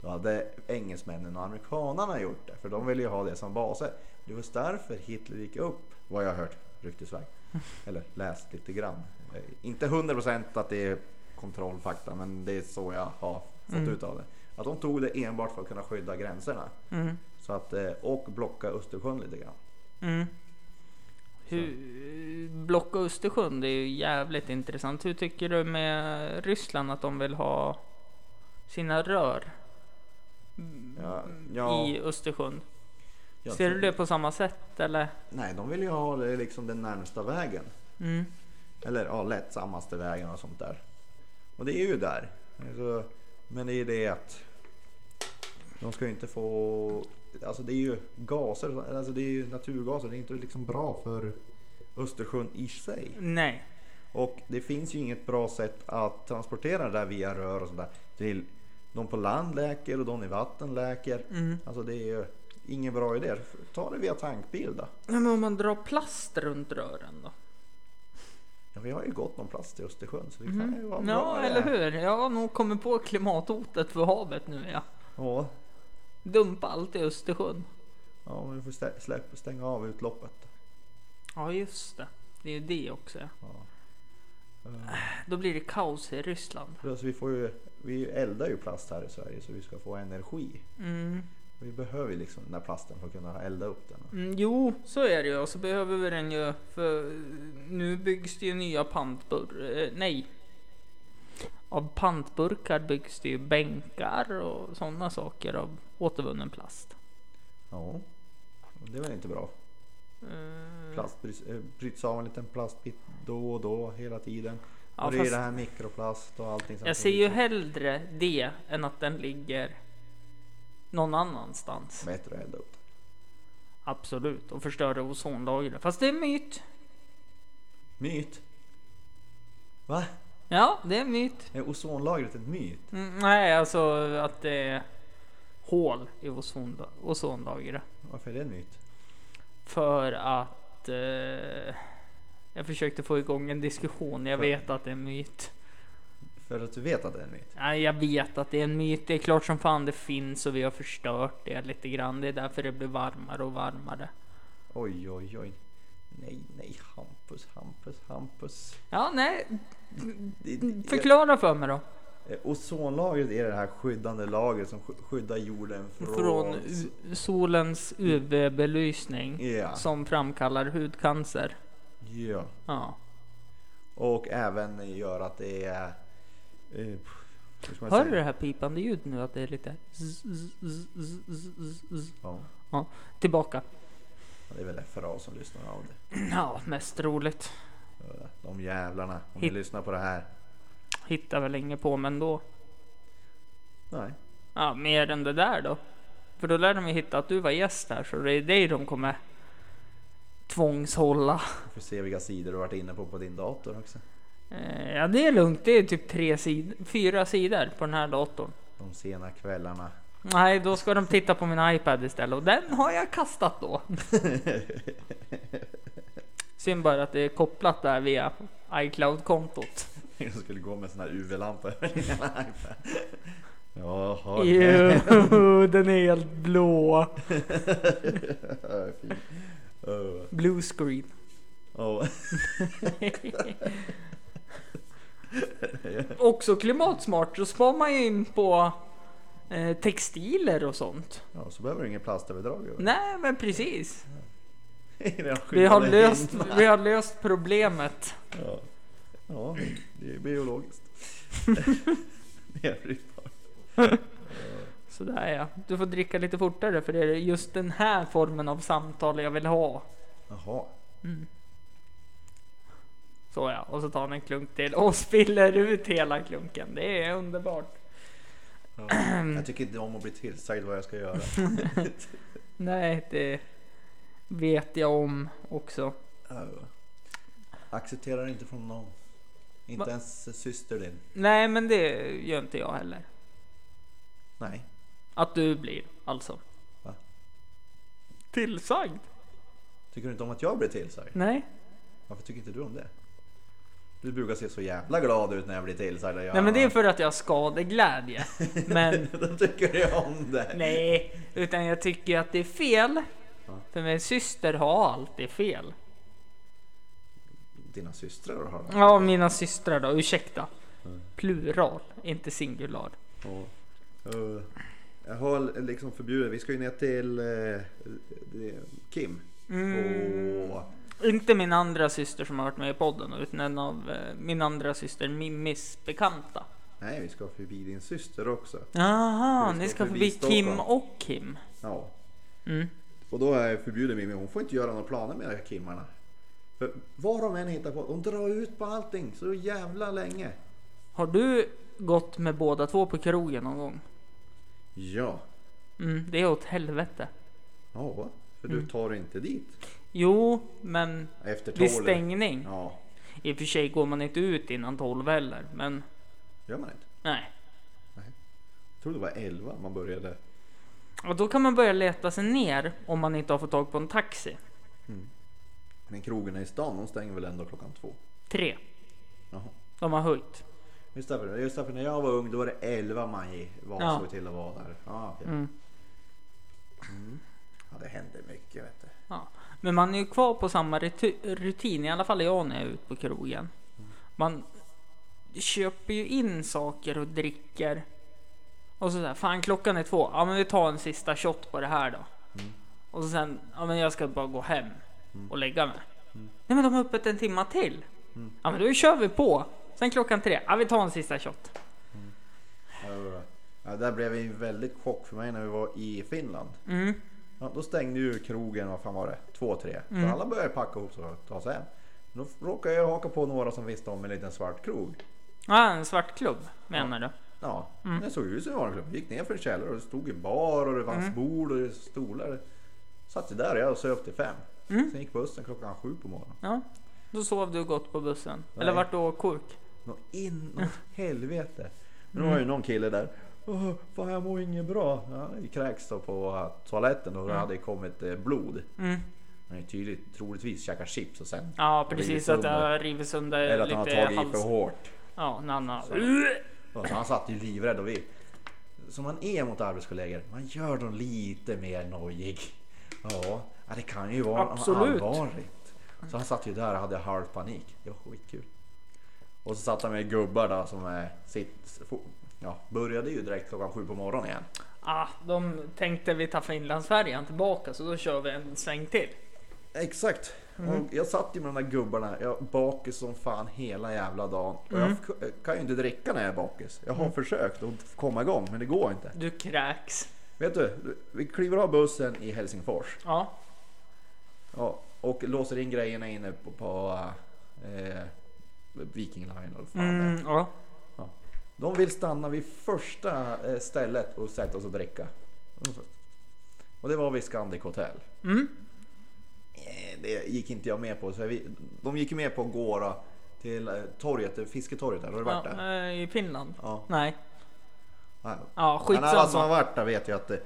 Speaker 3: Då hade engelsmännen och amerikanarna gjort det, för de ville ju ha det som baser. Det var därför Hitler gick upp, vad jag har hört ryktesväg. Eller läst lite grann. Eh, Inte 100 procent att det är kontrollfakta, men det är så jag har fått
Speaker 2: Mm.
Speaker 3: ut av det. Att de tog det enbart för att kunna skydda gränserna
Speaker 2: Mm.
Speaker 3: så att, eh, och blocka Östersjön lite grann.
Speaker 2: Mm. Hur, Block och Östersjön, det är ju jävligt intressant. Hur tycker du med Ryssland att de vill ha sina rör
Speaker 3: Ja, ja,
Speaker 2: Mm, i Östersjön?
Speaker 3: jag
Speaker 2: Ser du
Speaker 3: tror-
Speaker 2: det på samma sätt eller?
Speaker 3: Nej, de vill ju ha det liksom den närmsta vägen.
Speaker 2: Mm.
Speaker 3: Eller ja, lättsammaste vägen och sånt där. Och det är ju där. Alltså, men det är det att de ska ju inte få... Alltså det är ju gaser, alltså det är ju naturgaser. Det är inte liksom bra för Östersjön i sig.
Speaker 2: Nej.
Speaker 3: Och det finns ju inget bra sätt att transportera det där via rör och sånt där. Till de på land läker och de i vatten läker.
Speaker 2: Mm.
Speaker 3: Alltså det är ju ingen bra idé. Ta det via tankbil då.
Speaker 2: Nej, Men om man drar plast runt rören då?
Speaker 3: Ja, vi har ju gott om plast i Östersjön så det kan ju vara
Speaker 2: Mm.
Speaker 3: bra
Speaker 2: Ja,
Speaker 3: det.
Speaker 2: eller hur? Jag har nog kommit på klimathotet för havet nu ja.
Speaker 3: Ja,
Speaker 2: Dumpa allt i Östersjön.
Speaker 3: Ja, men vi får stä- släpp, stänga av utloppet.
Speaker 2: Ja, just det. Det är ju det också. ja.
Speaker 3: Ja.
Speaker 2: Då blir det kaos i Ryssland.
Speaker 3: Plus alltså, vi, får ju, vi eldar ju plast här i Sverige så vi ska få energi.
Speaker 2: Mm.
Speaker 3: Vi behöver ju liksom den där plasten för att kunna elda upp den.
Speaker 2: Mm, jo, så är det ju. Och så behöver vi den ju för nu byggs det ju nya pantburkar. Eh, nej. Av pantburkar byggs det ju bänkar och sådana saker av återvunnen plast.
Speaker 3: Ja, och det är väl inte bra.
Speaker 2: Eh,
Speaker 3: Plast bryts, eh, bryts av en liten plastbit då och då hela tiden.
Speaker 2: Ja,
Speaker 3: och det är
Speaker 2: fast-
Speaker 3: det här mikroplast och allting. som
Speaker 2: jag ser ju
Speaker 3: finns.
Speaker 2: hellre det än att den ligger någon annanstans.
Speaker 3: Bättre att elda upp.
Speaker 2: Absolut, och förstör ozonlagret. Fast det är en myt.
Speaker 3: Myt? Va?
Speaker 2: Ja, det är en myt.
Speaker 3: Är ozonlagret en myt?
Speaker 2: Mm, nej, alltså att det är hål i ozonla- ozonlagret.
Speaker 3: Varför är det en myt?
Speaker 2: För att eh, jag försökte få igång en diskussion. Jag
Speaker 3: För-
Speaker 2: vet att det är en myt.
Speaker 3: För att du vet att det är en myt?
Speaker 2: Nej, jag vet att det är en myt. Det är klart som fan det finns och vi har förstört det lite grann. Det är därför det blir varmare och varmare.
Speaker 3: Oj, oj, oj. Nej, nej, Hampus, Hampus, Hampus.
Speaker 2: Ja, nej.
Speaker 3: Det-
Speaker 2: Mm,
Speaker 3: det-
Speaker 2: Förklara för mig då.
Speaker 3: Eh, Ozonlagret är det här skyddande lagret som sky- skyddar jorden från...
Speaker 2: Från u- solens UV-belysning
Speaker 3: Ja,
Speaker 2: som framkallar hudcancer.
Speaker 3: ja.
Speaker 2: Ja.
Speaker 3: Och även gör att det är... eh, hur ska man
Speaker 2: Hör
Speaker 3: säga?
Speaker 2: du det här pipande ljudet nu? Att det är lite zzz, zzz, zzz, zzz, zzz, zzz.
Speaker 3: Ja,
Speaker 2: Tillbaka.
Speaker 3: det är väl FRA som lyssnar av det.
Speaker 2: Ja, mest roligt.
Speaker 3: Eh, De jävlarna, om
Speaker 2: Hit-
Speaker 3: ni lyssnar på det här.
Speaker 2: Hittar väl inget på men då.
Speaker 3: Nej.
Speaker 2: Ja, mer än det där då. För då lär de ju hitta att du var gäst här så det är dig de kommer tvångshålla.
Speaker 3: Vi får se vilka sidor du varit inne på på din dator också.
Speaker 2: Eh, ja, det är lugnt. Det är typ tre sid- fyra sidor på den här datorn.
Speaker 3: De sena kvällarna.
Speaker 2: Nej, då ska de titta på min iPad istället och den har jag kastat då. Synd bara att det är kopplat där via iCloud-kontot.
Speaker 3: Jag skulle gå med såna här UV-lampor. Jaha.
Speaker 2: Jo, den är helt blå.
Speaker 3: Fy. Öh.
Speaker 2: Blue screen.
Speaker 3: Ja.
Speaker 2: Också klimatsmart, så spar man ju in på eh, textiler och sånt.
Speaker 3: Ja, så behöver du ingen plastöverdrag över.
Speaker 2: Nej men precis.
Speaker 3: I den
Speaker 2: Vi har,
Speaker 3: skyddade
Speaker 2: löst,
Speaker 3: hinnan.
Speaker 2: vi har löst problemet.
Speaker 3: Ja. ja, det är biologiskt. det är brytbart.
Speaker 2: Sådär ja. Du får dricka lite fortare för det är just den här formen av samtal jag vill ha.
Speaker 3: Jaha.
Speaker 2: Så ja, och så tar han en klunk till och spiller ut hela klunken. Det är underbart.
Speaker 3: Ja. Jag tycker inte om att bli tillsagd vad jag ska göra.
Speaker 2: Nej, det vet jag om också.
Speaker 3: Ja. Accepterar inte från någon. Inte
Speaker 2: Va?
Speaker 3: ens syster din.
Speaker 2: Nej, men det gör inte jag heller.
Speaker 3: Nej.
Speaker 2: Att du blir alltså.
Speaker 3: Va?
Speaker 2: Tillsagd?
Speaker 3: Tycker du inte om att jag blir tillsagd?
Speaker 2: Nej.
Speaker 3: Varför tycker inte du om det? Du brukar se så jävla glad ut när jag blir tillsagd.
Speaker 2: Nej, men det är för att jag har skadeglädje. Men
Speaker 3: Då tycker jag om det.
Speaker 2: nej, utan jag tycker att det är fel. För min syster har alltid fel.
Speaker 3: Dina systrar har det.
Speaker 2: Ja, mina systrar då. Ursäkta. Plural, inte singular.
Speaker 3: Ja. Eh, Jag har liksom förbjudit. Vi ska ju ner till eh, det- Kim.
Speaker 2: Mm.
Speaker 3: Och,
Speaker 2: Inte min andra syster som har varit med i podden, utan en av eh, min andra syster Mimmis bekanta.
Speaker 3: nej, vi ska förbi din syster också.
Speaker 2: Jaha,
Speaker 3: För vi
Speaker 2: ni
Speaker 3: ska
Speaker 2: ska
Speaker 3: förbi
Speaker 2: förbi Kim
Speaker 3: Stockholm.
Speaker 2: och Kim.
Speaker 3: Ja.
Speaker 2: Mm.
Speaker 3: Och då är jag förbjuden Mimmi. Hon får inte göra några planer med de här Kimmarna. För vad de än hittar på, de drar ut på allting så jävla länge.
Speaker 2: Har du gått med båda två på krogen någon gång?
Speaker 3: Ja.
Speaker 2: Mm, det är åt helvete.
Speaker 3: Ja, för
Speaker 2: Mm.
Speaker 3: du tar inte dit.
Speaker 2: Jo, men
Speaker 3: Efter tolv.
Speaker 2: vid stängning.
Speaker 3: Ja,
Speaker 2: I och för sig går man inte ut innan tolv heller, men
Speaker 3: gör man inte.
Speaker 2: nej.
Speaker 3: Jag tror det var elva man började.
Speaker 2: Och då kan man börja leta sig ner om man inte har fått tag på en taxi.
Speaker 3: Men krogarna i stan, de stänger väl ändå klockan två.
Speaker 2: Tre.
Speaker 3: Jaha.
Speaker 2: De har höjt.
Speaker 3: Just därför, just därför när jag var ung då var det 11 maj var
Speaker 2: Ja.
Speaker 3: såg till att vara där. Ja, okej. Mm.
Speaker 2: Mm.
Speaker 3: ja, det hände mycket vet du.
Speaker 2: Ja. Men man är ju kvar på samma ritu- rutin, i alla fall jag när jag är ute på krogen. Man köper ju in saker och dricker. Och så där, fan klockan är två, ja men vi tar en sista shot på det här då.
Speaker 3: Mm.
Speaker 2: Och så sen, ja men jag ska bara gå hem och lägga mig.
Speaker 3: Mm.
Speaker 2: Nej men de har öppet en timma till. Ja men då kör vi på. Sen klockan tre, ja vi tar en sista shot.
Speaker 3: Ja, det var bra. Ja, det där blev en väldigt chock för mig när vi var i Finland.
Speaker 2: Mm.
Speaker 3: Ja, då stängde ju krogen, vad fan var det, två, tre.
Speaker 2: Mm.
Speaker 3: Så alla började packa ihop sig och ta sig hem. Då råkade jag haka på några som visste om en liten svart krog.
Speaker 2: Ja, en svart klubb menar du?
Speaker 3: Ja,
Speaker 2: Mm.
Speaker 3: det såg ut som en vanlig klubb. Gick ner för en källare och det stod en bar och det
Speaker 2: Mm.
Speaker 3: fanns bord och det stolar. Satt vi där och jag söp till fem.
Speaker 2: Mm.
Speaker 3: Sen gick bussen klockan sju på morgonen.
Speaker 2: Ja. Då sov du gott på bussen. Eller
Speaker 3: Nej.
Speaker 2: vart du åkkork?
Speaker 3: Nå
Speaker 2: Mm.
Speaker 3: inåt helvete. Men då var ju någon kille där. Åh, fan jag mår inget bra. Ja, det kräks då på eh, toaletten och det hade kommit eh, blod.
Speaker 2: Mm.
Speaker 3: Han är tydligt troligtvis käkat chips och sen.
Speaker 2: Ja precis, att det
Speaker 3: sönder.
Speaker 2: har rivit sönder
Speaker 3: Eller att han har
Speaker 2: lite
Speaker 3: tagit i för
Speaker 2: hals.
Speaker 3: hårt.
Speaker 2: Ja, en annan.
Speaker 3: Och så han satt ju livrädd och vi. Som man är mot arbetskollegor, man gör dem lite mer nojig. Ja, ja, det kan ju vara
Speaker 2: Absolut.
Speaker 3: allvarligt. Så han satt ju där och hade halv panik. Det var skitkul. Och så satt han med gubbar där som är sitt, fo- ja, började ju direkt klockan sju på morgonen igen.
Speaker 2: Ah, de tänkte vi tar Finlandsfärjan tillbaka så då kör vi en sväng till.
Speaker 3: Exakt. Och jag satt ju med de där gubbarna, jag bakis som fan hela jävla dagen. Och jag f- kan ju inte dricka när jag är bakis. Jag har försökt att komma igång men det går inte.
Speaker 2: Du kräks.
Speaker 3: Vet du, vi kliver av bussen i Helsingfors.
Speaker 2: Ja,
Speaker 3: Ja, och låser in grejerna inne på, på eh, Viking Line eller vad fan det är.
Speaker 2: mm, ja.
Speaker 3: ja. De vill stanna vid första eh, stället och sätta oss och dricka. Och det var vid Scandic Hotel.
Speaker 2: Mm.
Speaker 3: Eh, Det gick inte jag med på. Så vi, de gick ju med på att gå då till eh, torget, fisketorget där. Har du varit
Speaker 2: ja
Speaker 3: där?
Speaker 2: eh, I Finland?
Speaker 3: Ja.
Speaker 2: Nej.
Speaker 3: Nej.
Speaker 2: Ja,
Speaker 3: Men alla som har
Speaker 2: skitsamma.
Speaker 3: varit där vet ju att eh,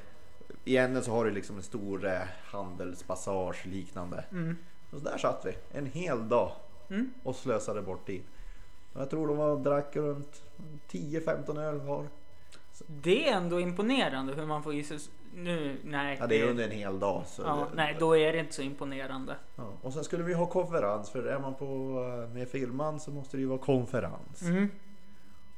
Speaker 3: i änden så har du liksom en stor eh, handelspassage liknande.
Speaker 2: Mm.
Speaker 3: Och så där satt vi en hel dag och slösade bort tid. Och jag tror de var, drack runt 10-15 öl var.
Speaker 2: Det är ändå imponerande hur man får i sig... s- Nu, nej.
Speaker 3: Ja, det är under en hel dag. Så
Speaker 2: ja, nej, då är det inte så imponerande.
Speaker 3: Ja, Och sen skulle vi ha konferens för är man på eh, med filman så måste det ju vara konferens.
Speaker 2: Mm.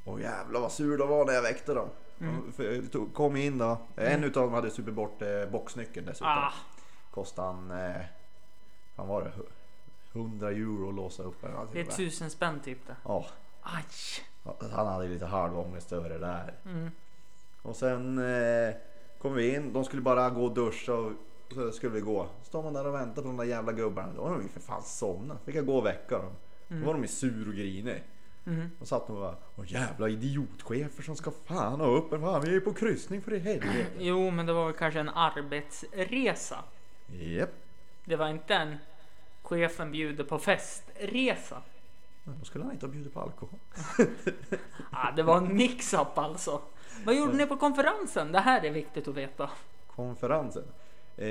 Speaker 3: Och jävlar vad sur de var när jag väckte dem.
Speaker 2: Mm.
Speaker 3: För jag tog- kom in då. En utav dem hade supit bort eh, boxnyckeln dessutom.
Speaker 2: Ah,
Speaker 3: kostade han, eh, fan var det, hu- 100 euro att låsa upp den.
Speaker 2: det är tusen spänn typ det.
Speaker 3: Ja,
Speaker 2: Aj! Mm.
Speaker 3: han hade lite halv ångest över det där. Och sen eh, kom vi in, de skulle bara gå och duscha och så skulle vi gå. Står man där och väntar på de där jävla gubbarna. Då har de ju för fan somnat. Fick jag gå och väcka dem.
Speaker 2: Mm.
Speaker 3: Då var de ju sur och grinig.
Speaker 2: Mhm.
Speaker 3: Och satt de och bara Åh jävla idiotchefer som ska fan ha upp en fan. Vi är ju på kryssning för i helvete.
Speaker 2: Jo, men det var väl kanske en arbetsresa.
Speaker 3: Japp.
Speaker 2: Det var inte en chefen bjuder på festresa.
Speaker 3: Men Då skulle han inte ha bjudit på alkohol.
Speaker 2: Ah, det var en mix-up alltså. Vad gjorde ni på konferensen? Det här är viktigt att veta.
Speaker 3: konferensen. Eh,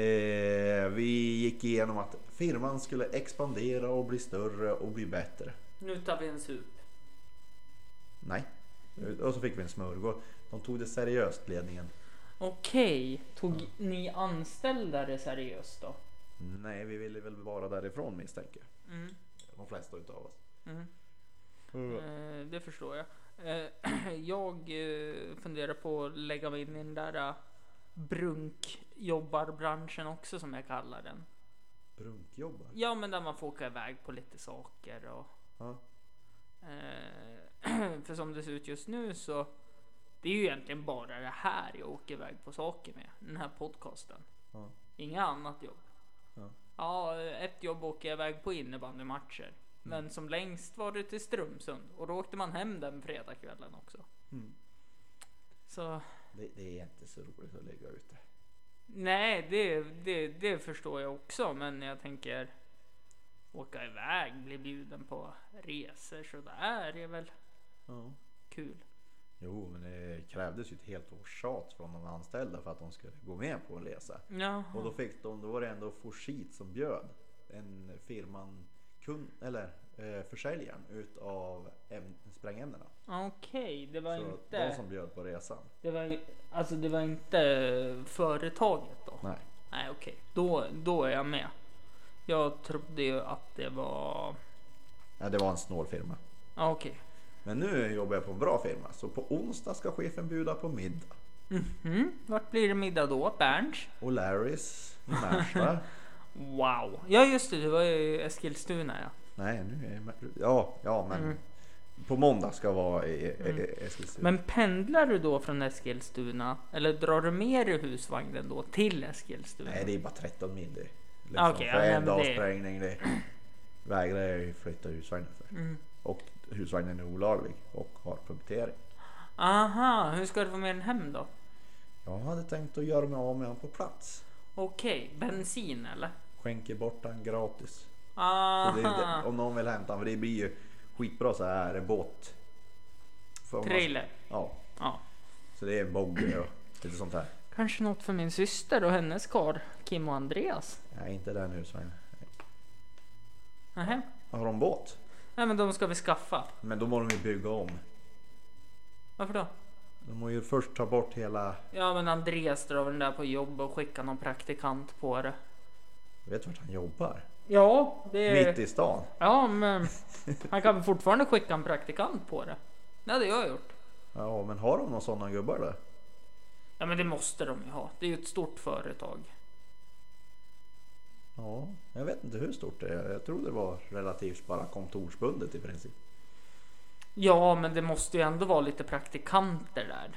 Speaker 3: vi gick igenom att firman skulle expandera och bli större och bli bättre.
Speaker 2: Nu tar vi en sup.
Speaker 3: Nej. Och så fick vi en smörgås. De tog det seriöst ledningen.
Speaker 2: Okej, tog ni anställda det seriöst då?
Speaker 3: Nej, vi ville väl vara därifrån misstänker jag.
Speaker 2: Mm.
Speaker 3: De flesta utav oss.
Speaker 2: Mm.
Speaker 3: Mm.
Speaker 2: Eh, det förstår jag. Eh, jag eh, funderar på att lägga mig in i den där eh, brunkjobbarbranschen också som jag kallar den.
Speaker 3: Brunkjobbar?
Speaker 2: Ja, men där man får åka iväg på lite saker och
Speaker 3: Ja.
Speaker 2: Eh, För som det ser ut just nu så det är ju egentligen bara det här jag åker iväg på saker med. Den här podcasten.
Speaker 3: Ja.
Speaker 2: Inga annat jobb.
Speaker 3: Ja.
Speaker 2: Ja, ett jobb åker jag iväg på innebandymatcher.
Speaker 3: Mm.
Speaker 2: Men som längst var det till Strömsund och då åkte man hem den fredagskvällen också.
Speaker 3: Mm.
Speaker 2: Så
Speaker 3: Det, det är inte så roligt att ligga ute.
Speaker 2: nej, det, det, det förstår jag också. Men jag tänker åka iväg, bli bjuden på resor sådär är väl
Speaker 3: Ja.
Speaker 2: kul.
Speaker 3: Jo, men det krävdes ju ett helt års tjat från de anställda för att de skulle gå med på en resa.
Speaker 2: Ja.
Speaker 3: Och då fick de, då var det ändå Forsit som bjöd en firman kund, eller eh, försäljaren utav äm- sprängämnena.
Speaker 2: Okej, det var
Speaker 3: Så
Speaker 2: inte.
Speaker 3: de som bjöd på resan.
Speaker 2: Det var, alltså det var inte företaget då?
Speaker 3: Nej.
Speaker 2: Nej okej, då, då är jag med. Jag trodde ju att det var...
Speaker 3: Ja, det var en snål firma.
Speaker 2: Ja okej.
Speaker 3: Men nu jobbar jag på en bra firma så på onsdag ska chefen bjuda på middag.
Speaker 2: Mhm, Vart blir det middag då? Berns?
Speaker 3: Och Larrys i Märsta.
Speaker 2: Wow. Ja just det, det var ju Eskilstuna ja.
Speaker 3: Nej, nu är jag i Mär- Ja, ja men på måndag ska jag vara i, i, i Eskilstuna.
Speaker 2: Mm. Men pendlar du då från Eskilstuna? Eller drar du med dig husvagnen då till Eskilstuna?
Speaker 3: Nej, det är bara 13 mil det.
Speaker 2: Ah, okej,
Speaker 3: för
Speaker 2: ja,
Speaker 3: en
Speaker 2: men
Speaker 3: dags
Speaker 2: det-
Speaker 3: sprängning det vägrar jag ju flytta husvagnen för.
Speaker 2: Mm.
Speaker 3: Och husvagnen är olaglig och har punktering.
Speaker 2: Aha, hur ska du få med den hem då?
Speaker 3: Jag hade tänkt att göra mig av med honom på plats.
Speaker 2: Okej, bensin eller?
Speaker 3: Skänker bort han gratis. Så det är
Speaker 2: Aha,
Speaker 3: inte, om någon vill hämta honom, för det blir ju skitbra så här båt. För om man-
Speaker 2: trailer.
Speaker 3: Ja,
Speaker 2: Ja.
Speaker 3: så det är en bogey och lite sånt här.
Speaker 2: Kanske något för min syster och hennes kar Kim och Andreas.
Speaker 3: Nej, inte den husvagnen.
Speaker 2: Nähä.
Speaker 3: Har de båt?
Speaker 2: Nej men de ska vi skaffa.
Speaker 3: Men då måste de ju bygga om.
Speaker 2: Varför då?
Speaker 3: De måste ju först ta bort hela...
Speaker 2: Ja men Andreas drar väl den där på jobb och skickar någon praktikant på det.
Speaker 3: Vet du vart han jobbar?
Speaker 2: Ja, det
Speaker 3: Mitt i stan.
Speaker 2: Ja men han kan väl fortfarande skicka en praktikant på det. Det hade jag gjort.
Speaker 3: Ja, men har de några sådana gubbar där?
Speaker 2: Ja men det måste de ju ha. Det är ju ett stort företag.
Speaker 3: Ja, jag vet inte hur stort det är. Jag tror det var relativt bara kontorsbundet i princip.
Speaker 2: Ja men det måste ju ändå vara lite praktikanter där.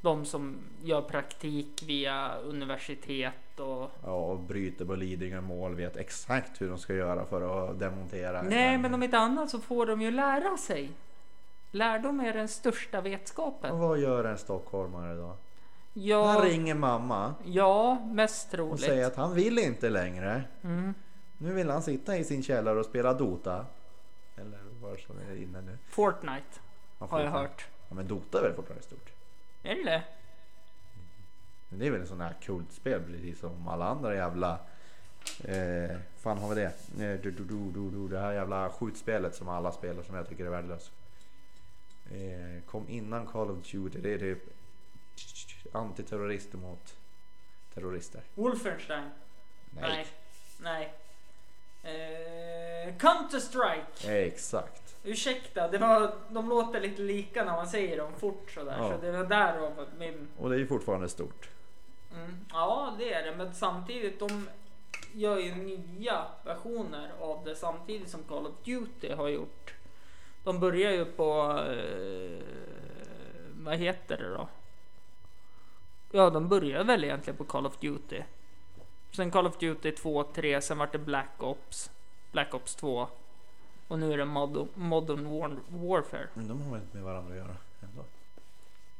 Speaker 2: De som gör praktik via universitet och
Speaker 3: Ja, och bryter på Lidingö mål vet exakt hur de ska göra för att demontera.
Speaker 2: Nej,
Speaker 3: en-
Speaker 2: men om inte annat så får de ju lära sig. Lärdom är den största
Speaker 3: Och
Speaker 2: vetskapen.
Speaker 3: Vad gör en stockholmare då? Han
Speaker 2: Ja,
Speaker 3: Mm. ringer mamma
Speaker 2: ja mest
Speaker 3: och
Speaker 2: troligt.
Speaker 3: säger att han vill inte längre.
Speaker 2: Mm.
Speaker 3: Nu vill han sitta i sin källare och spela Dota. Eller vad som är inne nu.
Speaker 2: Fortnite
Speaker 3: Man får
Speaker 2: har jag
Speaker 3: inte-
Speaker 2: hört.
Speaker 3: Ja, men Dota är väl fortfarande stort?
Speaker 2: Är det det?
Speaker 3: Men det är väl en sån här kultspel precis som alla andra jävla... Eh, fan har vi det? Eh, Du, du, du, du, du, det här jävla skjutspelet som alla spelar som jag tycker är värdelöst. Eh, kom innan Call of Duty. Det är typ antiterrorister mot terrorister.
Speaker 2: Wolfenstein?
Speaker 3: Nej.
Speaker 2: Nej. Eh, Counter-Strike!
Speaker 3: Eh. Exakt.
Speaker 2: Ursäkta, det var, de låter lite lika när man säger dem fort sådär.
Speaker 3: Ja.
Speaker 2: Så det var därav min...
Speaker 3: Och det är ju fortfarande stort.
Speaker 2: Mm. Ja, det är det. Men samtidigt, de gör ju nya versioner av det samtidigt som Call of Duty har gjort. De börjar ju på... Eh, vad heter det då? Ja, de började väl egentligen på Call of Duty. Sen Call of Duty 2, 3, sen vart det Black Ops, Black Ops 2. Och nu är det Mod- Modern War- Warfare.
Speaker 3: Men de har väl inte med varandra att göra ändå?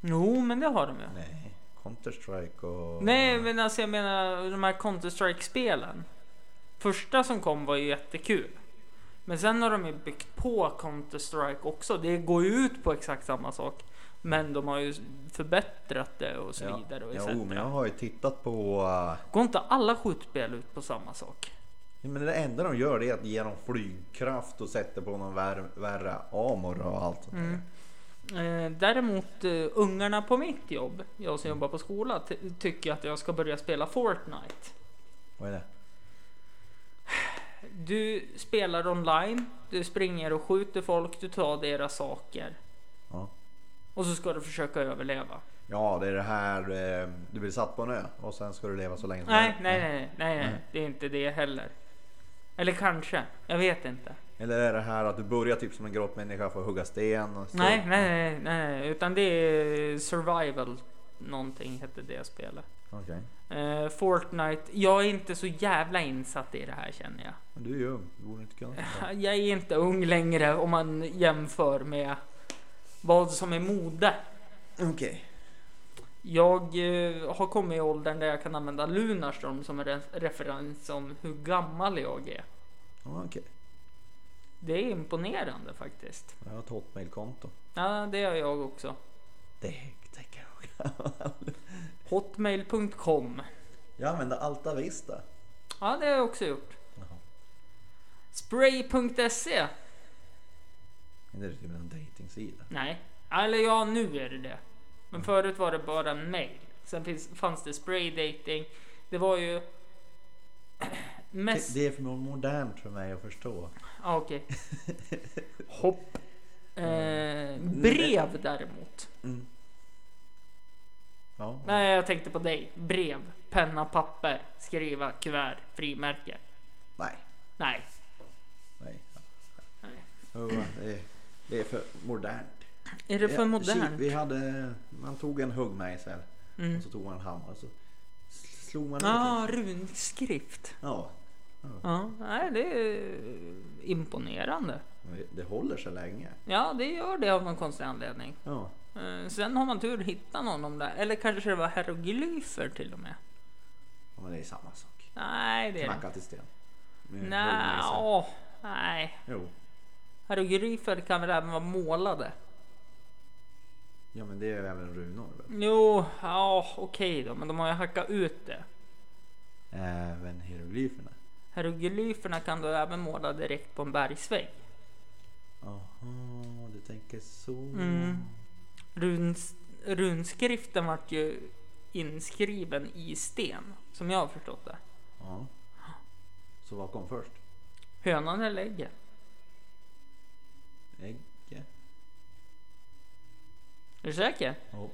Speaker 2: Jo, men det har de ju.
Speaker 3: Nej. Counter-Strike och...
Speaker 2: Nej, men alltså jag menar de här Counter-Strike-spelen. Första som kom var ju jättekul. Men sen har de ju byggt på Counter-Strike också. Det går ju ut på exakt samma sak. Men de har ju förbättrat det och så
Speaker 3: Ja.
Speaker 2: vidare. Och
Speaker 3: Jo,
Speaker 2: etc.
Speaker 3: men jag har ju tittat på... eh,
Speaker 2: Går inte alla skjutspel ut på samma sak?
Speaker 3: Nej, Men det enda de gör det är att ge dem flygkraft och sätter på någon vär, värre amor och allt sånt där.
Speaker 2: Mm. Eh, däremot eh, ungarna på mitt jobb, jag som jobbar på skola, ty- tycker att jag ska börja spela Fortnite.
Speaker 3: Vad är det?
Speaker 2: Du spelar online, du springer och skjuter folk, du tar deras saker.
Speaker 3: Ja.
Speaker 2: Och så ska du försöka överleva.
Speaker 3: ja, det är det här... eh, Du blir satt på en ö och sen ska du leva så länge som
Speaker 2: Nej,
Speaker 3: möjligt.
Speaker 2: nej, nej, nej, nej,
Speaker 3: Nej.
Speaker 2: det är inte det heller. Eller kanske, jag vet inte.
Speaker 3: Eller är det här att du börjar typ som en grottmänniska för att hugga sten? Och så-
Speaker 2: Nej, nej, nej, nej, nej, utan det är survival någonting hette det spelet.
Speaker 3: Okej.
Speaker 2: Eh, Fortnite, jag är inte så jävla insatt i det här känner jag.
Speaker 3: Men du är ju ung, du borde inte kunna sånt här.
Speaker 2: Jag är inte ung längre om man jämför med vad som är mode.
Speaker 3: Okej.
Speaker 2: Jag eh, har kommit i åldern där jag kan använda Lunarstorm som en re- referens om hur gammal jag är.
Speaker 3: Ja, okej.
Speaker 2: Det är imponerande faktiskt.
Speaker 3: Jag har ett hotmail-konto.
Speaker 2: Ja, det gör jag också.
Speaker 3: Det tänker jag nog.
Speaker 2: Hotmail.com.
Speaker 3: Jag använder Alta Vista.
Speaker 2: Ja, det har jag också gjort.
Speaker 3: Jaha.
Speaker 2: Spray.se.
Speaker 3: Är det typ en dejtingsida?
Speaker 2: Nej, eller ja, nu är det det. Men förut var det bara en mail. Sen finns, fanns det spray dating. Det var ju
Speaker 3: Det,
Speaker 2: mest...
Speaker 3: det är för modernt för mig att förstå.
Speaker 2: Ah, Okej. Hopp. Eh, brev däremot.
Speaker 3: Ja.
Speaker 2: Nej, jag tänkte på dig. Brev, penna, papper, skriva, kuvert, frimärke.
Speaker 3: Nej.
Speaker 2: Nej.
Speaker 3: Nej.
Speaker 2: Nej.
Speaker 3: Jo, Det, är, det är för modernt.
Speaker 2: Är det för
Speaker 3: Ja, shit, Vi
Speaker 2: modernt?
Speaker 3: hade, man tog en huggmejsel
Speaker 2: Mm.
Speaker 3: och så tog man en hammare och så slog man ut
Speaker 2: Ah,
Speaker 3: den.
Speaker 2: runskrift.
Speaker 3: Ja,
Speaker 2: Ja, nej, det är imponerande.
Speaker 3: men det håller så länge.
Speaker 2: Ja, det gör det av någon konstig anledning.
Speaker 3: Ja.
Speaker 2: Eh, Sen har man tur att hitta någon om det. Eller kanske det var hieroglyfer till och med.
Speaker 3: Ja, Men det är samma sak.
Speaker 2: Nej, det är det inte.
Speaker 3: Knacka till sten. Med en
Speaker 2: Nej,
Speaker 3: huggmejsel.
Speaker 2: åh, nej.
Speaker 3: Jo.
Speaker 2: Hieroglyfer kan väl även vara målade?
Speaker 3: Ja men det är även runor. väl?
Speaker 2: Jo, ja, okej då, men de har ju hackat ut det.
Speaker 3: Även hieroglyferna.
Speaker 2: Hieroglyferna kan du även måla direkt på en bergsvägg.
Speaker 3: Jaha, du tänker så.
Speaker 2: Mm. Runs, runskriften vart ju inskriven i sten, som jag har förstått det.
Speaker 3: Ja. Så vad kom först?
Speaker 2: Hönan eller ägget?
Speaker 3: Ägget?
Speaker 2: Är du säker?
Speaker 3: Ja.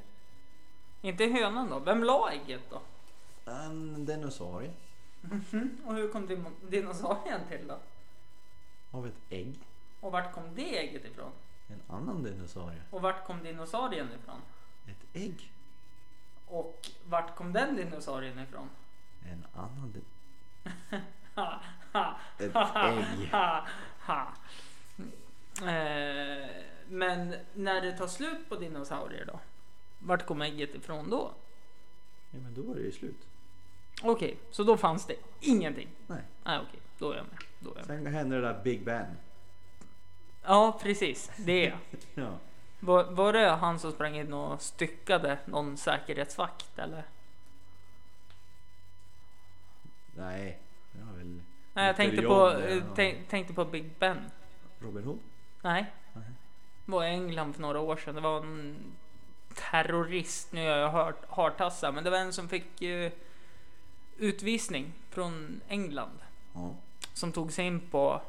Speaker 2: Inte hönan då? Vem la ägget då?
Speaker 3: En dinosaurie.
Speaker 2: Och hur kom din- dinosaurien till då?
Speaker 3: Av ett ägg.
Speaker 2: Och vart kom det ägget ifrån?
Speaker 3: En annan dinosaurie.
Speaker 2: Och vart kom dinosaurien ifrån?
Speaker 3: Ett ägg.
Speaker 2: Och vart kom den dinosaurien ifrån?
Speaker 3: En annan din...
Speaker 2: Ha, ha,
Speaker 3: Ett
Speaker 2: ha,
Speaker 3: ägg.
Speaker 2: ha, ha. Eh, Men när det tar slut på dinosaurier då? Vart kom ägget ifrån då?
Speaker 3: Ja men då var det ju slut.
Speaker 2: Okej, så då fanns det ingenting.
Speaker 3: Nej.
Speaker 2: Nej okej, då är jag med. Då är jag med.
Speaker 3: Sen hände det där Big Ben.
Speaker 2: Ja precis, det är jag.
Speaker 3: Ja.
Speaker 2: Var, var det han som sprang in och styckade någon säkerhetsvakt eller?
Speaker 3: Nej. Det var väl...
Speaker 2: Nej, jag tänkte på, eh,
Speaker 3: Myterion, det var-
Speaker 2: tänk, tänkte på Big Ben.
Speaker 3: Robin Hood?
Speaker 2: Nej.
Speaker 3: Nej.
Speaker 2: Det var i England för några år sedan. Det var en terrorist, nu har jag hört hartassa, men det var en som fick eh, utvisning från England.
Speaker 3: Ja.
Speaker 2: Som tog sig in på,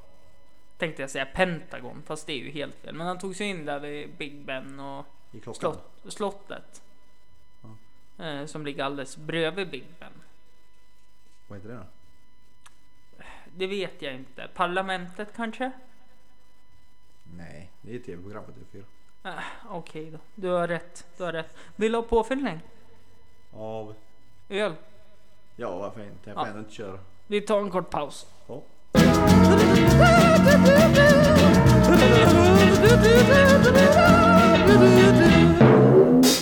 Speaker 2: tänkte jag säga Pentagon, fast det är ju helt fel. Men han tog sig in där vid Big Ben och
Speaker 3: I klockan?
Speaker 2: slott, slottet.
Speaker 3: Ja.
Speaker 2: Eh, som ligger alldeles bredvid Big Ben.
Speaker 3: Vad heter det då?
Speaker 2: Det vet jag inte. Parlamentet kanske?
Speaker 3: Nej. Det är ett
Speaker 2: Eh,
Speaker 3: tv-program på TV4.
Speaker 2: Äh, Okej då, du har rätt. Du har rätt. Vill du ha påfyllning?
Speaker 3: av...
Speaker 2: Öl.
Speaker 3: Ja, varför inte? Jag får
Speaker 2: Ja.
Speaker 3: ändå inte köra.
Speaker 2: Vi tar en kort paus.
Speaker 3: Ja.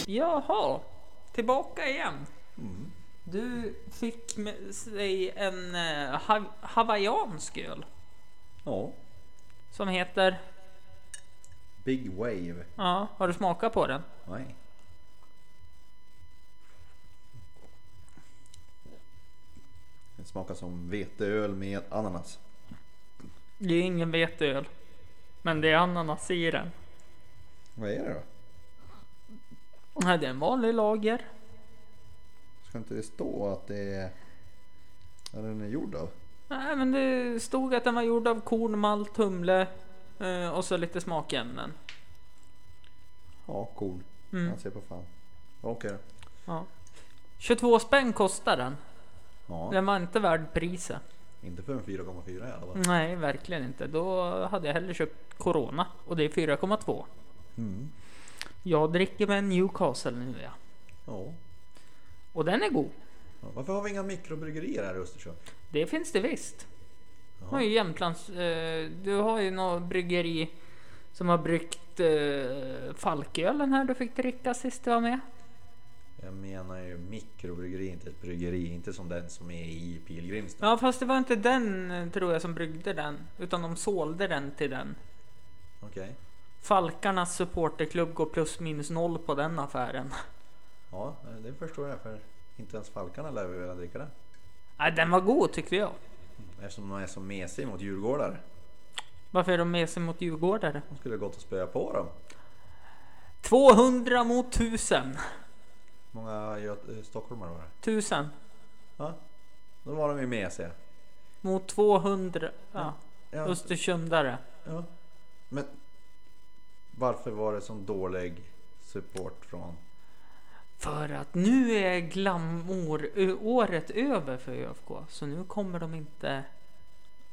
Speaker 2: Jaha, tillbaka igen. Du fick med sig en eh, ha- hawaiiansk öl
Speaker 3: ja.
Speaker 2: som heter...
Speaker 3: Big Wave.
Speaker 2: Ja, har du smakat på den?
Speaker 3: Nej. Den smakar som veteöl med ananas.
Speaker 2: Det är ingen veteöl. Men det är ananas i den.
Speaker 3: Vad är det då?
Speaker 2: Nej, det är en vanlig lager.
Speaker 3: Ska inte det stå att det är... Vad den är gjord av?
Speaker 2: Nej, men det stod att den var gjord av korn, malt, humle eh, och så lite smakämnen.
Speaker 3: Ja, korn.
Speaker 2: Mm.
Speaker 3: Man ser på fan. Okej då.
Speaker 2: Ja. 22 spänn kostar den.
Speaker 3: Ja,
Speaker 2: Den var inte värd priset.
Speaker 3: inte för en 4,4 i alla fall.
Speaker 2: Nej, verkligen inte. Då hade jag hellre köpt Corona och det är 4,2.
Speaker 3: Mm.
Speaker 2: Jag dricker med en Newcastle nu ja.
Speaker 3: Ja.
Speaker 2: Och den är god.
Speaker 3: Ja, Varför har vi inga mikrobryggerier här i Östersund?
Speaker 2: Det finns det visst. Du har ju Jämtlands... Eh, du har ju något bryggeri som har bryggt eh, Falkölen här du fick dricka sist du var med.
Speaker 3: Jag menar ju mikrobryggeri, inte ett bryggeri. Inte som den som är i Pilgrimstad.
Speaker 2: Ja fast det var inte den eh, tror jag som bryggde den. Utan de sålde den till den.
Speaker 3: Okej.
Speaker 2: Falkarnas supporterklubb går plus minus noll på den affären.
Speaker 3: Ja, eh, det förstår jag. För inte ens Falkarna lär vi vilja dricka det.
Speaker 2: Nej, den var god tyckte jag.
Speaker 3: Eftersom de är så mesiga mot djurgårdar.
Speaker 2: Varför är de med sig mot djurgårdare?
Speaker 3: De skulle gått och spöa på dem.
Speaker 2: 200 mot 1000.
Speaker 3: många Göt- eh, stockholmare var det?
Speaker 2: 1000
Speaker 3: Ja, då var de ju mesiga.
Speaker 2: mot 200. Ja.
Speaker 3: Ja,
Speaker 2: Östersundare.
Speaker 3: ja. Men varför var det sån dålig support från...
Speaker 2: För att nu är glamour-året över för ÖFK. Så nu kommer de inte...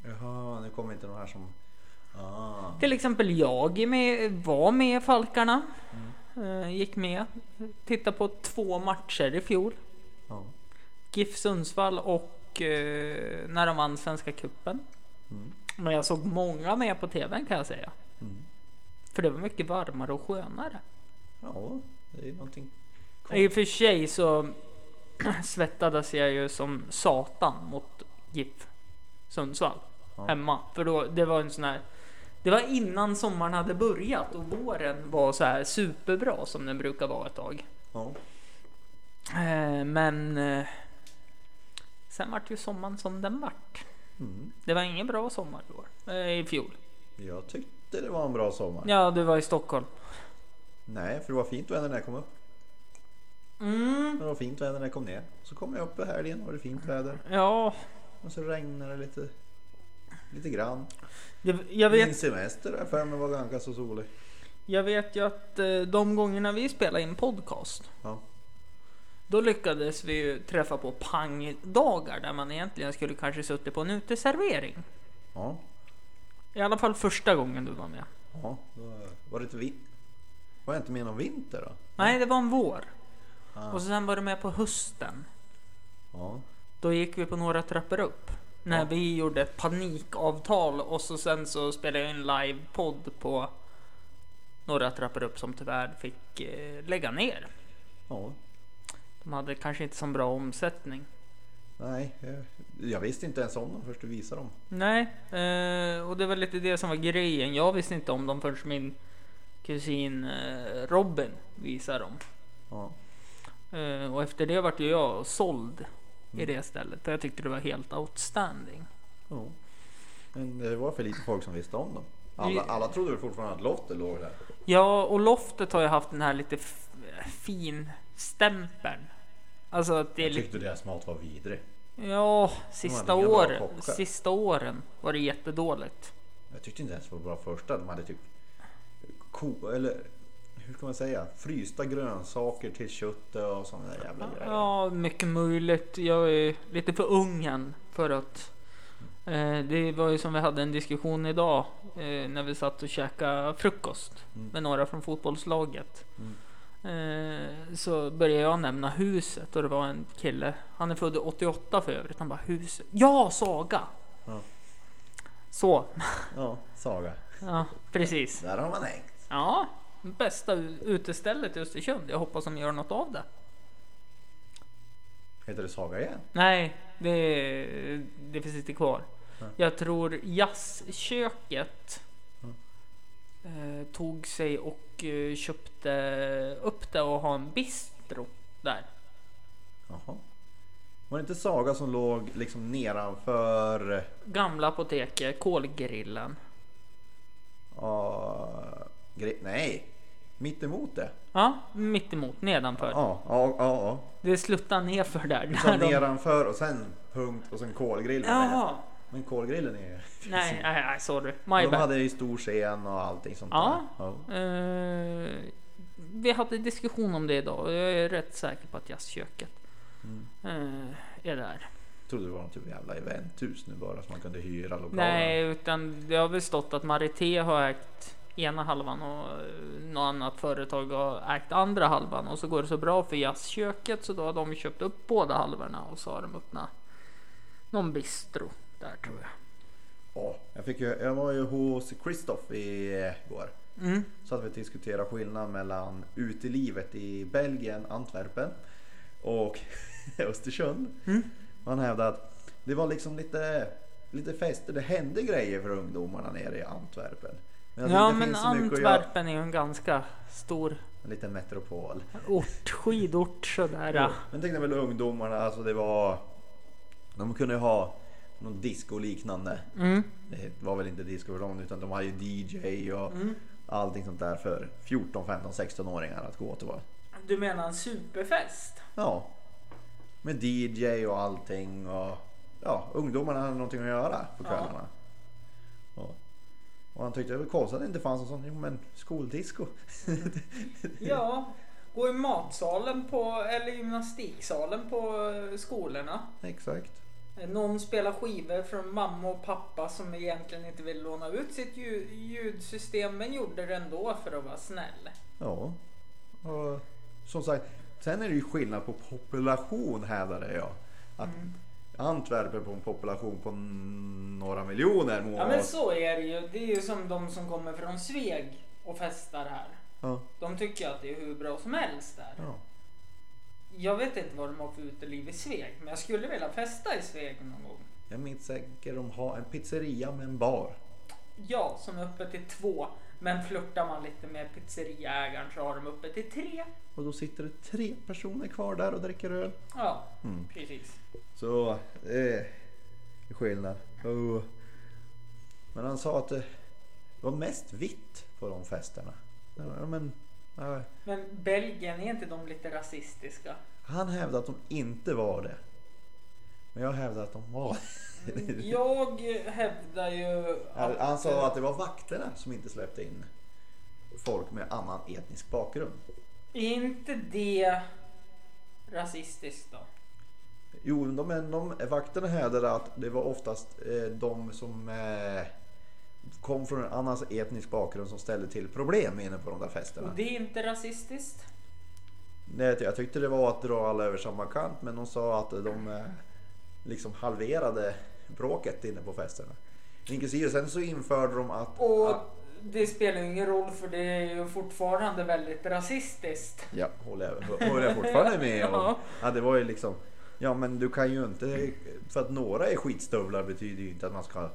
Speaker 3: Jaha, nu kommer inte de här som... Ah,
Speaker 2: Till exempel jag är med, var med i Falkarna. Eh, Gick med. Tittade på två matcher i fjol.
Speaker 3: ja.
Speaker 2: GIF Sundsvall och eh, när de vann Svenska Cupen. Men jag såg många med på TVn kan jag säga.
Speaker 3: Mm.
Speaker 2: För det var mycket varmare och skönare.
Speaker 3: ja, det är ju någonting...
Speaker 2: I och för sig så svettades jag ju som satan mot GIF Sundsvall
Speaker 3: Ja.
Speaker 2: hemma. För då, det var en sån här det var innan sommaren hade börjat och våren var så här superbra som den brukar vara ett tag.
Speaker 3: Ja.
Speaker 2: Eh, Men eh, sen vart ju sommaren som den vart.
Speaker 3: Mm.
Speaker 2: Det var ingen bra sommar i, år, eh, i fjol.
Speaker 3: Jag tyckte det var en bra sommar.
Speaker 2: Ja, du var i Stockholm.
Speaker 3: Nej, för det var fint väder när jag kom upp.
Speaker 2: Mm,
Speaker 3: Det var fint väder när jag kom ner. Så kom jag upp i helgen och det var fint väder.
Speaker 2: ja,
Speaker 3: Och så regnade det lite, lite grann.
Speaker 2: det, jag,
Speaker 3: Min
Speaker 2: vet,
Speaker 3: semester där för mig var ganska så solig.
Speaker 2: jag vet ju att eh, de gångerna vi spelade in podcast,
Speaker 3: Ja.
Speaker 2: då lyckades vi ju träffa på pangdagar där man egentligen skulle kanske suttit på en uteservering.
Speaker 3: Ja.
Speaker 2: I alla fall första gången du var med.
Speaker 3: ja. Då var det inte vin- Var jag inte med någon vinter då?
Speaker 2: Nej, det var en vår.
Speaker 3: Ah.
Speaker 2: Och sen var du med på hösten.
Speaker 3: Ja.
Speaker 2: Då gick vi på några trappor upp. När
Speaker 3: Ja.
Speaker 2: vi gjorde ett panikavtal och så sen så spelade jag en livepodd på några trappor upp som tyvärr fick eh, lägga ner.
Speaker 3: Ja.
Speaker 2: De hade kanske inte så bra omsättning.
Speaker 3: Nej, jag, jag visste inte ens om dem först du visade dem.
Speaker 2: Nej, eh, och det var lite det som var grejen. Jag visste inte om dem förrän min kusin eh, Robin visade dem.
Speaker 3: Ja.
Speaker 2: Eh, och efter det vart ju jag såld i det stället. Jag tyckte det var helt outstanding.
Speaker 3: ja. Men det var för lite folk som visste om dem. Alla,
Speaker 2: Vi-
Speaker 3: alla trodde väl fortfarande att Lotte låg där.
Speaker 2: Ja, och loftet har ju haft den här lite f- fin stämpeln. Alltså att det är
Speaker 3: Jag
Speaker 2: lite,
Speaker 3: tyckte deras mat var vidrig.
Speaker 2: ja, sista
Speaker 3: inga bra
Speaker 2: åren,
Speaker 3: kockar.
Speaker 2: sista åren var det jättedåligt.
Speaker 3: Jag tyckte inte ens det var bra första. De hade typ ko, eller hur ska man säga? Frysta grönsaker till köttet och sådana där jävla grejer.
Speaker 2: Ja, mycket möjligt. Jag är lite för ung än för att eh, det var ju som vi hade en diskussion idag eh, när vi satt och käkade frukost med några från fotbollslaget. Eh, så började jag nämna huset och det var en kille. Han är född 88 för övrigt. Han bara huset. Ja, Saga!
Speaker 3: Ja.
Speaker 2: Så,
Speaker 3: Ja, Saga.
Speaker 2: ja, precis.
Speaker 3: Där har man hängt.
Speaker 2: Ja, bästa u- utestället i Östersund. Jag hoppas de gör något av det.
Speaker 3: Heter det Saga igen?
Speaker 2: Nej, det, det finns inte kvar. Jag tror jazzköket
Speaker 3: Mm.
Speaker 2: eh, tog sig och eh, köpte upp det och ha en bistro där.
Speaker 3: Jaha. Var det inte Saga som låg liksom nedanför eh,
Speaker 2: Gamla apoteket, kolgrillen.
Speaker 3: Ja, gre- nej, mitt emot det.
Speaker 2: Ja, mittemot nedanför.
Speaker 3: Ja, Liksom ja, ja.
Speaker 2: Det slutar ner för där.
Speaker 3: ja.
Speaker 2: där de-
Speaker 3: Nedanför och sen punkt och sen kolgrillen.
Speaker 2: Jaha.
Speaker 3: Men kolgrillen är ju...
Speaker 2: Nej, nej, nej, sorry. My
Speaker 3: De
Speaker 2: bad.
Speaker 3: hade ju stor scen och allting sånt
Speaker 2: Ja.
Speaker 3: där. Ja.
Speaker 2: Eh, vi hade en diskussion om det idag och jag är rätt säker på att jazzköket
Speaker 3: Mm.
Speaker 2: eh, är där.
Speaker 3: Trodde det var något typ jävla eventhus nu bara som man kunde hyra lokaler.
Speaker 2: Nej, utan det har väl stått att Marité har ägt ena halvan och eh, något annat företag har ägt andra halvan och så går det så bra för jazzköket så då har de köpt upp båda halvorna och så har de öppnat någon bistro där tror jag.
Speaker 3: Ja, jag, fick ju, jag var ju hos Christoph eh, igår.
Speaker 2: Mm.
Speaker 3: Så att vi diskuterade skillnaden mellan utelivet i Belgien, Antwerpen och Östersund.
Speaker 2: Mm.
Speaker 3: Man hävdade att det var liksom lite, lite fester, det hände grejer för ungdomarna nere i Antwerpen. Medan
Speaker 2: ja,
Speaker 3: det inte
Speaker 2: men
Speaker 3: finns så mycket att göra-
Speaker 2: Antwerpen är ju en ganska stor
Speaker 3: En liten metropol.
Speaker 2: ort, skidort sådär.
Speaker 3: Ja. Men tänk dig väl ungdomarna, alltså det var... De kunde ju ha någon disco liknande.
Speaker 2: Mm.
Speaker 3: Det var väl inte disco för dem utan de hade ju DJ och
Speaker 2: Mm.
Speaker 3: allting sånt där för 14, 15, 16-åringar att gå till. Var.
Speaker 2: Du menar en superfest?
Speaker 3: Ja. Med DJ och allting och ja, ungdomarna hade någonting att göra på kvällarna. Och, och han tyckte det var konstigt att det inte fanns någon sån, jo men skoldisco.
Speaker 2: Ja, gå i matsalen på, eller gymnastiksalen på eh, skolorna.
Speaker 3: Exakt.
Speaker 2: Någon spelar skivor från mamma och pappa som egentligen inte vill låna ut sitt ljud, ljudsystem men gjorde det ändå för att vara snäll.
Speaker 3: Ja. Och, som sagt, sen är det ju skillnad på population hävdade jag. Att
Speaker 2: Mm.
Speaker 3: Antwerpen på en population på n- några miljoner må
Speaker 2: Ja men
Speaker 3: vara-
Speaker 2: så är det ju. Det är ju som de som kommer från Sveg och festar här.
Speaker 3: ja,
Speaker 2: De tycker att det är hur bra som helst där.
Speaker 3: ja.
Speaker 2: Jag vet inte vad de har för uteliv i Sveg men jag skulle vilja festa i Sveg någon gång.
Speaker 3: Jag minns säkert de har en pizzeria med en bar.
Speaker 2: Ja, som är uppe till två. Men flörtar man lite med pizzeriaägaren så har de uppe till tre.
Speaker 3: Och då sitter det tre personer kvar där och dricker öl.
Speaker 2: Ja, precis.
Speaker 3: Så eh, skillnad. Oh. Men han sa att det var mest vitt på de festerna. Ja, men, eh,
Speaker 2: Men Belgien, är inte de lite rasistiska?
Speaker 3: han hävdade att de inte var det. Men jag hävdade att de var
Speaker 2: Mm,
Speaker 3: det.
Speaker 2: Jag hävdar ju
Speaker 3: Han-
Speaker 2: att...
Speaker 3: Han sa att det var vakterna som inte släppte in folk med annan etnisk bakgrund.
Speaker 2: Är inte det rasistiskt då?
Speaker 3: Jo, de, de vakterna hävdade att det var oftast eh, de som eh, kom från en annan etnisk bakgrund som ställde till problem inne på de där festerna.
Speaker 2: Och det är inte rasistiskt?
Speaker 3: Nej, jag tyckte det var att dra alla över samma kant men de sa att de eh, liksom halverade bråket inne på festerna. Inklusive sen så införde de att...
Speaker 2: Och
Speaker 3: att-
Speaker 2: det spelar ju ingen roll för det är ju fortfarande väldigt rasistiskt.
Speaker 3: Ja, håller jag, håller jag fortfarande med om.
Speaker 2: Ja.
Speaker 3: Ja. det var ju liksom... Ja, men du kan ju inte... För att några är skitstövlar betyder ju inte att man ska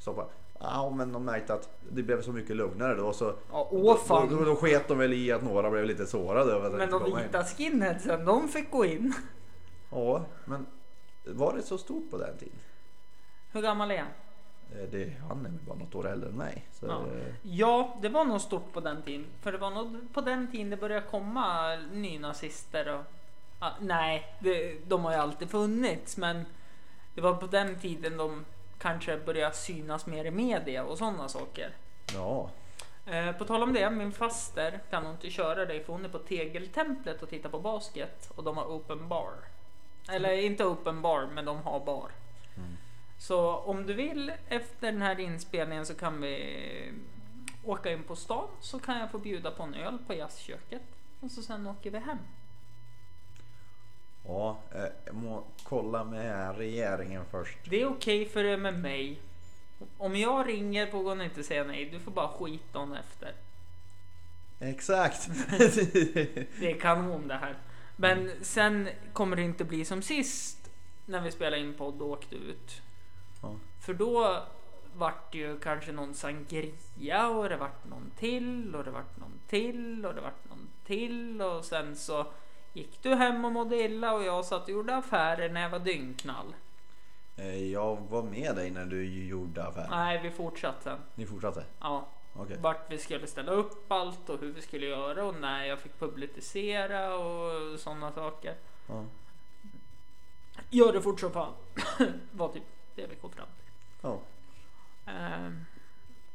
Speaker 3: stoppa... Ja, men de märkte att det blev så mycket lugnare då så...
Speaker 2: Ja, åh fan.
Speaker 3: Då, då, då sket de väl i att några blev lite sårade. över att
Speaker 2: Men
Speaker 3: inte
Speaker 2: de
Speaker 3: komma in.
Speaker 2: vita skinheadsen, de fick gå in.
Speaker 3: Ja, men var det så stort på den tiden?
Speaker 2: Hur gammal är han?
Speaker 3: Eh, Det, han är väl bara något år äldre än mig. Så,
Speaker 2: Ja.
Speaker 3: eh,
Speaker 2: Ja, det var nog stort på den tiden. För det var nog på den tiden det började komma nynazister och... Ah, nej, det, de har ju alltid funnits men det var på den tiden de kanske började synas mer i media och sådana saker.
Speaker 3: ja.
Speaker 2: Eh, på tal om det, min faster kan nog inte köra dig för hon är på Tegeltemplet och tittar på basket och de har open bar. Eller inte open bar, men de har bar. Så om du vill efter den här inspelningen så eh, kan vi åka in på stan så kan jag få bjuda på en öl på jazzköket. Och så sen åker vi hem.
Speaker 3: Ja, eh, jag må kolla med regeringen först.
Speaker 2: Det är okej för det med mig. Om jag ringer får hon inte säga nej. Du får bara skita hon efter.
Speaker 3: Exakt!
Speaker 2: Det är kanon det här. Men sen kommer det inte bli som sist när vi spelade in podd och åkte ut.
Speaker 3: Ja.
Speaker 2: För då vart det ju kanske någon sangria och det vart någon till och det vart någon till och det vart någon till och sen så gick du hem och mådde illa och jag satt och gjorde affärer när jag var dyngknall.
Speaker 3: Eh, jag var med dig när du gjorde affären.
Speaker 2: Nej, vi fortsatte sen.
Speaker 3: Ni fortsatte?
Speaker 2: Ja,
Speaker 3: Okej.
Speaker 2: vart vi skulle ställa upp allt och hur vi skulle göra och när jag fick publicera och sådana saker.
Speaker 3: Ja.
Speaker 2: Gör det fort som fan. var typ det vi kom fram till.
Speaker 3: Ja.
Speaker 2: Ehm,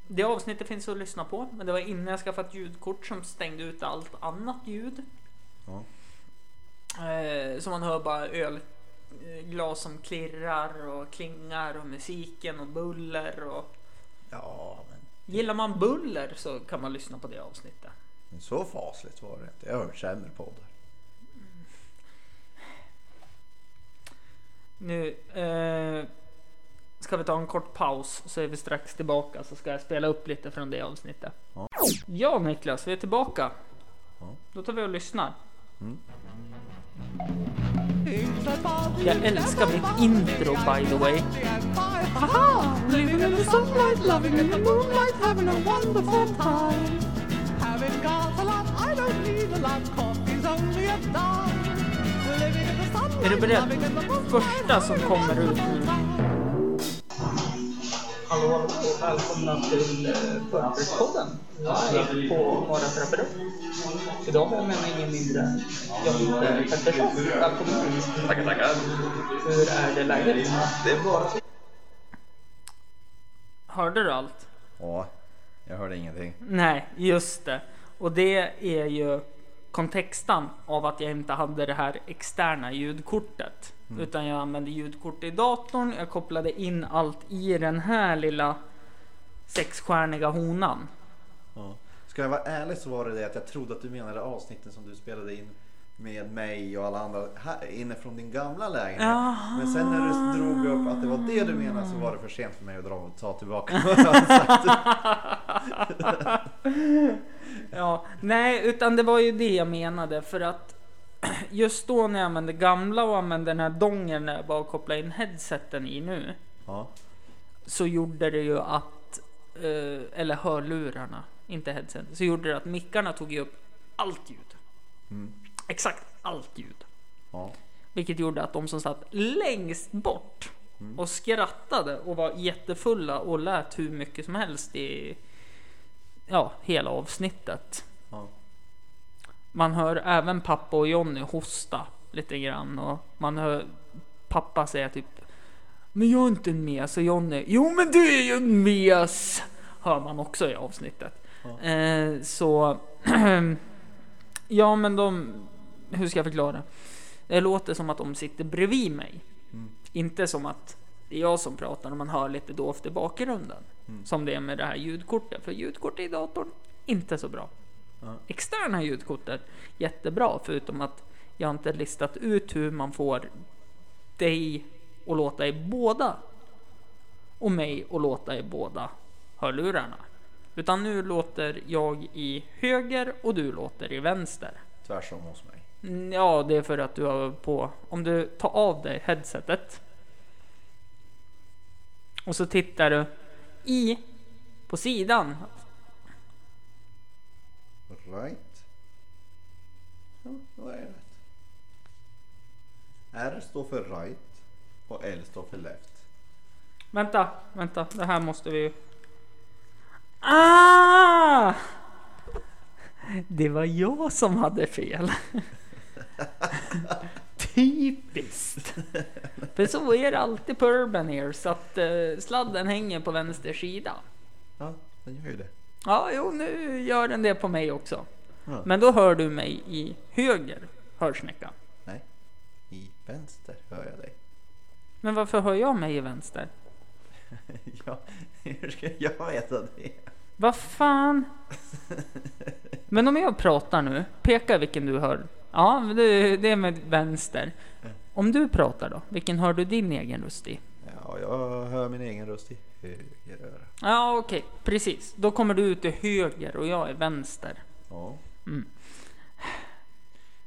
Speaker 2: Det avsnittet finns att lyssna på, men det var innan jag skaffade ett ljudkort som stängde ut allt annat ljud.
Speaker 3: Ja.
Speaker 2: Ehm, Så man hör bara ölglas som klirrar och klingar och musiken och buller. Och...
Speaker 3: ja,
Speaker 2: Gillar man buller så kan man lyssna på det avsnittet.
Speaker 3: men så fasligt var det inte. Jag har hört sämre poddar.
Speaker 2: Nu eh, ska vi ta en kort paus så är vi strax tillbaka så ska jag spela upp lite från det avsnittet.
Speaker 3: Ja.
Speaker 2: Ja Niklas, vi är tillbaka.
Speaker 3: Ja.
Speaker 2: Då tar vi och lyssnar.
Speaker 1: Jag älskar mitt intro by the way. Haha! Living in the sunlight, loving in the moonlight, having a wonderful time. Having got a lot, I don't need a lot, coffee's only a dime. Living in the sunlight,
Speaker 2: Är du beredd?
Speaker 1: loving in the moonlight,
Speaker 2: Första som
Speaker 1: having a
Speaker 2: kommer ut
Speaker 1: wonderful
Speaker 2: nu.
Speaker 1: time.
Speaker 2: Hallå hallå och välkomna till Förhandlingspodden live på Norra Trapperud. Idag har jag med mig ingen mindre än Jonte Pettersson. Välkommen hit.
Speaker 4: Tackar, tackar.
Speaker 2: Hur är det läget?
Speaker 4: Det är bara...
Speaker 2: Hörde du allt?
Speaker 3: Ja, jag hörde ingenting.
Speaker 2: Nej, just det. Och det är ju kontexten av att jag inte hade det här externa ljudkortet.
Speaker 3: Mm.
Speaker 2: Utan jag använde ljudkort i datorn. Jag kopplade in allt i den här lilla sexstjärniga honan.
Speaker 3: Ja. Ska jag vara ärlig så var det det att jag trodde att du menade avsnitten som du spelade in med mig och alla andra här inne från din gamla lägenhet.
Speaker 2: Jaha.
Speaker 3: Eh, Men sen när du drog upp att det var det du menade så var det för sent för mig att dra och ta tillbaka vad jag hade sagt.
Speaker 2: Ja, nej, utan det var ju det jag menade för att just då när jag använde gamla och använde den här dongen när jag bara kopplade in headseten i nu
Speaker 3: Ja,
Speaker 2: så gjorde det ju att eh, eller hörlurarna, inte headset, så gjorde det att mickarna tog ju upp allt ljud.
Speaker 3: Mm.
Speaker 2: Exakt allt ljud,
Speaker 3: ja,
Speaker 2: vilket gjorde att de som satt längst bort och skrattade och var jättefulla och lät hur mycket som helst i ja, hela avsnittet.
Speaker 3: ja.
Speaker 2: Man hör även pappa och Jonny hosta lite grann och man hör pappa säga typ Men jag är inte en mes och Jonny Jo men du är ju en mes! Hör man också i avsnittet. Eh, så Ja men de Hur ska jag förklara? Det låter som att de sitter bredvid mig. Inte som att det är jag som pratar och man hör lite dovt i bakgrunden. Som det är med det här ljudkortet. För ljudkortet i datorn, inte så bra externa ljudkortet jättebra förutom att jag inte listat ut hur man får dig att låta i båda och mig att låta i båda hörlurarna. Utan nu låter jag i höger och du låter i vänster.
Speaker 3: Tvärsom hos mig.
Speaker 2: Mm, Ja, det är för att du har på... Om du tar av dig headsetet och så tittar du i på sidan
Speaker 3: Right. Ja, då är det rätt. R står för right och L står för left.
Speaker 2: Vänta, vänta, det här måste vi ju... Ah! Det var jag som hade fel. Typiskt! För så är det alltid på Urban Air, så att eh, sladden hänger på vänster sida.
Speaker 3: Ja, den gör ju det.
Speaker 2: Ja, jo, nu gör den det på mig också.
Speaker 3: Ja.
Speaker 2: Men då hör du mig i höger hörsnäcka.
Speaker 3: Nej, i vänster hör jag dig.
Speaker 2: Men varför hör jag mig i vänster?
Speaker 3: ja, hur ska jag veta det?
Speaker 2: Vad fan? Men om jag pratar nu, peka vilken du hör. Ja, men det, det är med vänster. Om du pratar då, vilken hör du din egen röst i?
Speaker 3: Ja, jag hör min egen röst i höger öra.
Speaker 2: Ja, okej, precis. Då kommer du ut till höger och jag är vänster.
Speaker 3: Ja.
Speaker 2: Mm.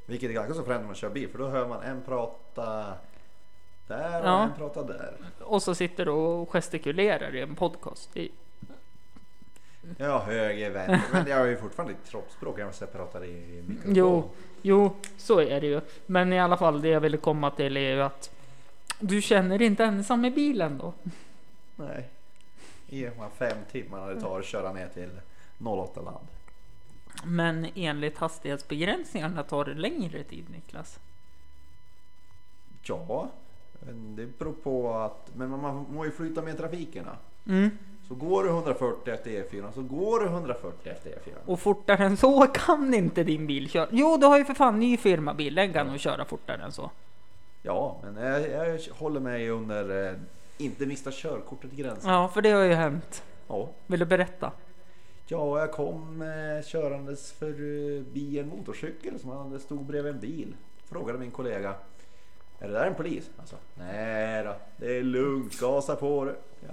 Speaker 3: Vilket är ganska så fränt när man kör bil för då hör man en prata där och
Speaker 2: Ja.
Speaker 3: en prata där.
Speaker 2: Och så sitter du och gestikulerar i en podcast. Det-
Speaker 3: Ja, höger, vänster. Men jag är ju fortfarande i kroppsspråk. Jag måste prata i mikrofon.
Speaker 2: Jo, jo, så är det ju. Men i alla fall, det jag ville komma till är ju att du känner dig inte ensam i bilen då.
Speaker 3: Nej. I de här fem timmarna det tar att köra ner till 08 land.
Speaker 2: Men enligt hastighetsbegränsningarna tar det längre tid, Niklas.
Speaker 3: Ja, men det beror på att... Men man må ju flytta med trafikerna.
Speaker 2: Mm.
Speaker 3: Så går du 140 efter E4 så går du 140 efter E E4.
Speaker 2: Och fortare än så kan inte din bil köra. Jo, du har ju för fan ny firmabil. Den kan nog köra fortare än så.
Speaker 3: Ja, men jag, jag håller mig under... Eh, inte mista körkortet gränsen.
Speaker 2: Ja, för det har ju hänt.
Speaker 3: Ja.
Speaker 2: Vill du berätta?
Speaker 3: Ja, jag kom eh, körandes förbi en motorcykel som hade stod bredvid en bil. Frågade min kollega. Är det där en polis? Han sa. Nej då, det är lugnt. Gasa på du. Ja,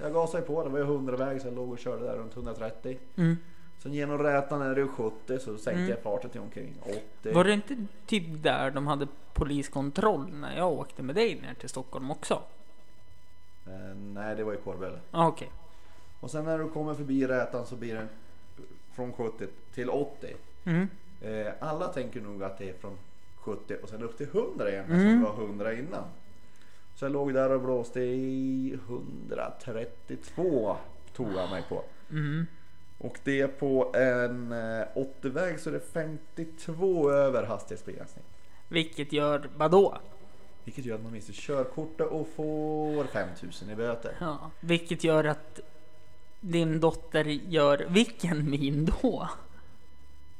Speaker 3: jag gasade på. Det var ju 100 väg så jag låg och körde där runt 130.
Speaker 2: Mm.
Speaker 3: Sen genom rätan är det 70 så sänkte
Speaker 2: Mm.
Speaker 3: jag farten till omkring 80.
Speaker 2: Var det inte typ där de hade poliskontroll när jag åkte med dig ner till Stockholm också?
Speaker 3: Eh, nej, det var ju Kårböle.
Speaker 2: Ah, Okej.
Speaker 3: Och sen när du kommer förbi rätan så blir den från 70 till 80.
Speaker 2: Mm.
Speaker 3: Eh, alla tänker nog att det är från 70 och sen upp till 100 igen
Speaker 2: Mm.
Speaker 3: som det var 100 innan. Så jag låg där och blåste i 132 tog jag mig på.
Speaker 2: Mm.
Speaker 3: Och det är på en eh, 80-väg så det är 52 över hastighetsbegränsning.
Speaker 2: Vilket gör vadå?
Speaker 3: Vilket gör att man mister körkortet och får 5000 i böter.
Speaker 2: Ja. Vilket gör att din dotter gör vilken min då?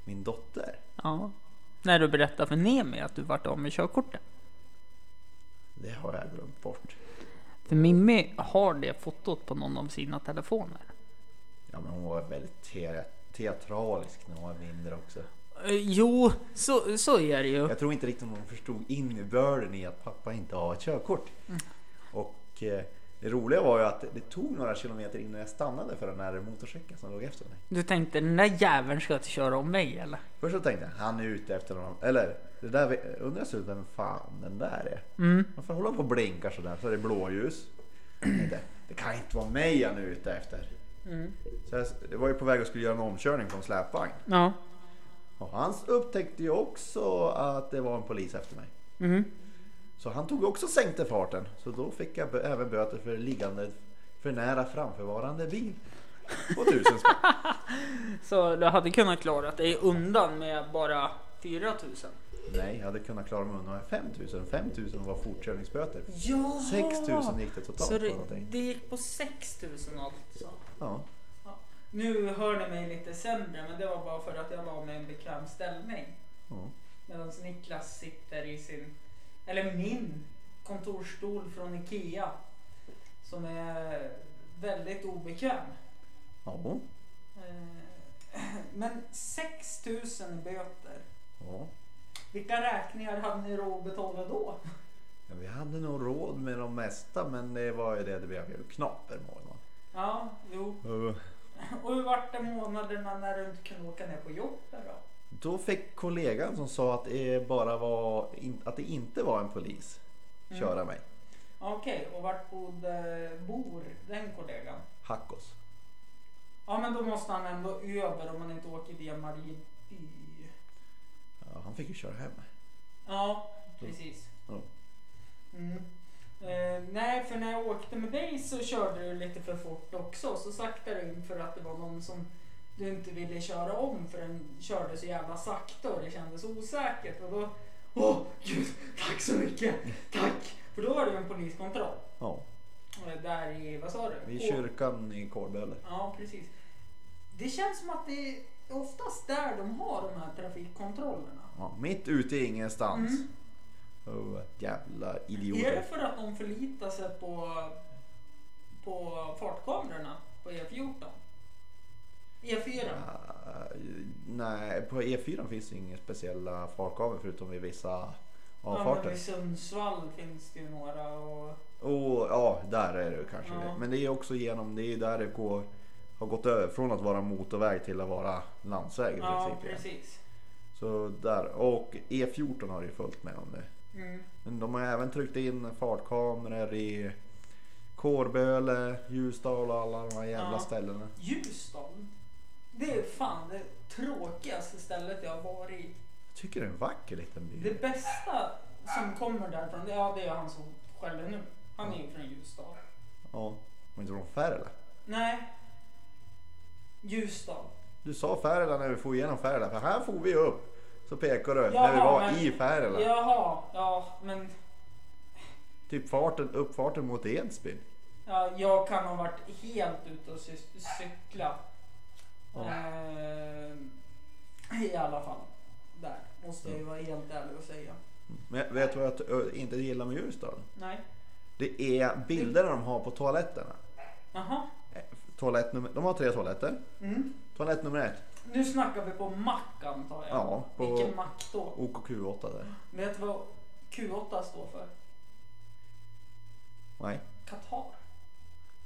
Speaker 3: Min dotter?
Speaker 2: Ja. När du berättade för Nemi att du vart av med körkortet.
Speaker 3: Det har jag glömt bort.
Speaker 2: För Mimmi har det fotot på någon av sina telefoner.
Speaker 3: Ja men hon var väldigt te- teatralisk när hon var mindre också.
Speaker 2: Eh, Jo, så, så är det ju.
Speaker 3: Jag tror inte riktigt hon förstod innebörden i att pappa inte har ett körkort. Och eh, det roliga var ju att det tog några kilometer innan jag stannade för den här motorcykeln som låg efter mig.
Speaker 2: Du tänkte den där jäveln ska inte köra om mig eller?
Speaker 3: Först så tänkte jag, han är ute efter honom. Eller, det där, undrar jag så vem fan den där är?
Speaker 2: Mm.
Speaker 3: Varför håller han på och blinkar sådär? Så är det blåljus. Jag tänkte, det kan inte vara mig han är ute efter.
Speaker 2: Mm.
Speaker 3: Så jag jag var ju på väg och skulle göra en omkörning på en släpvagn.
Speaker 2: Ja.
Speaker 3: Och han upptäckte ju också att det var en polis efter mig.
Speaker 2: Mm.
Speaker 3: Så han tog också sänkte farten. Så då fick jag bö- även böter för liggande för nära framförvarande bil. På tusen spänn.
Speaker 2: Så du hade kunnat klara dig undan med bara 4000?
Speaker 3: Nej, jag hade kunnat klara mig undan med 5000. 5000 var fortkörningsböter.
Speaker 2: Ja!
Speaker 3: 6000 gick det totalt
Speaker 2: Så
Speaker 3: på
Speaker 2: det,
Speaker 3: någonting.
Speaker 2: det gick på 6000 alltså?
Speaker 3: Ja.
Speaker 2: Nu hör ni mig lite sämre men det var bara för att jag var med en bekväm ställning.
Speaker 3: ja.
Speaker 2: Medan Niklas sitter i sin, eller min, kontorsstol från Ikea. Som är väldigt obekväm.
Speaker 3: Ja.
Speaker 2: Eh, Men 6000 i böter.
Speaker 3: ja.
Speaker 2: Vilka räkningar hade ni råd att betala då?
Speaker 3: Ja, Vi hade nog råd med de mesta men det var ju det det blev ju knaper månad.
Speaker 2: Ja, jo.
Speaker 3: Och
Speaker 2: Och hur vart det månaderna när du inte kunde åka ner på jobbet då?
Speaker 3: Då fick kollegan som sa att det bara var in- att det inte var en polis köra mig.
Speaker 2: Okej, och vart bodde, bor den kollegan?
Speaker 3: Hackos.
Speaker 2: Ja, men då måste han ändå över om man inte åker via Marieby.
Speaker 3: Ja, han fick ju köra hem mig.
Speaker 2: Ja, precis.
Speaker 3: Ja.
Speaker 2: Mm. Eh, nej, för när jag åkte med dig så körde du lite för fort också. Så saktade du in för att det var någon som du inte ville köra om för den körde så jävla sakta och det kändes osäkert. Och då, åh gud, tack så mycket, tack! För då var det ju en poliskontroll.
Speaker 3: Ja.
Speaker 2: eh, Där i, vad sa du?
Speaker 3: Vid
Speaker 2: K-
Speaker 3: kyrkan i Kårböle.
Speaker 2: Ja, precis. Det känns som att det är oftast där de har de här trafikkontrollerna.
Speaker 3: Ja, mitt ute i ingenstans.
Speaker 2: Mm.
Speaker 3: Oh, jävla
Speaker 2: Är det
Speaker 3: idioter.
Speaker 2: för att de förlitar sig E på, på fartkamerorna på E14? E4.
Speaker 3: Eh, nej, på E4 finns det inga speciella farkamer förutom vid vissa
Speaker 2: Ja,
Speaker 3: avfarter.
Speaker 2: men I Sundsvall finns det ju några och...
Speaker 3: Och ja, där är det kanske.
Speaker 2: Ja.
Speaker 3: Men det är också genom, det är där det går, har gått över från att vara motorväg till att vara landsväg i
Speaker 2: Ja,
Speaker 3: princip. igen.
Speaker 2: precis.
Speaker 3: Så där, och E14 har det ju fullt med om det.
Speaker 2: Mm.
Speaker 3: Men de har även tryckt in fartkameror i Kårböle, Ljusdal och alla de här jävla
Speaker 2: Ja.
Speaker 3: ställena.
Speaker 2: Ljusdal. Det är fan det tråkigaste stället jag har varit i.
Speaker 3: Jag tycker det är en vacker liten by.
Speaker 2: Det bästa som kommer därifrån, det- ja det är han som skäller nu. Han är ju från Ljusdal.
Speaker 3: Ja, men inte från Färila.
Speaker 2: Nej. Ljusdal.
Speaker 3: Du sa Färila när vi for igenom Färila, för här for vi upp. Så pekar du
Speaker 2: Jaha,
Speaker 3: när vi var
Speaker 2: men-
Speaker 3: i Färila.
Speaker 2: Jaha, ja men
Speaker 3: Typ farten, uppfarten mot Edsbyn.
Speaker 2: ja, jag kan ha varit helt ute och cy- cykla.
Speaker 3: Ja.
Speaker 2: Ehm, I alla fall. Där måste jag ju vara helt ärlig och säga.
Speaker 3: Men vet du vad jag t- ö, inte gillar med Ljusdal?
Speaker 2: Nej.
Speaker 3: Det är bilderna de har på toaletterna.
Speaker 2: Jaha.
Speaker 3: Eh, Toalett nummer, de har tre toaletter.
Speaker 2: Mm.
Speaker 3: Toalett nummer ett,
Speaker 2: Nu snackar vi på mack antar jag.
Speaker 3: Ja, på-
Speaker 2: Vilken mack då?
Speaker 3: OKQ8 där.
Speaker 2: Vet du vad Q8 står för?
Speaker 3: Nej,
Speaker 2: Qatar.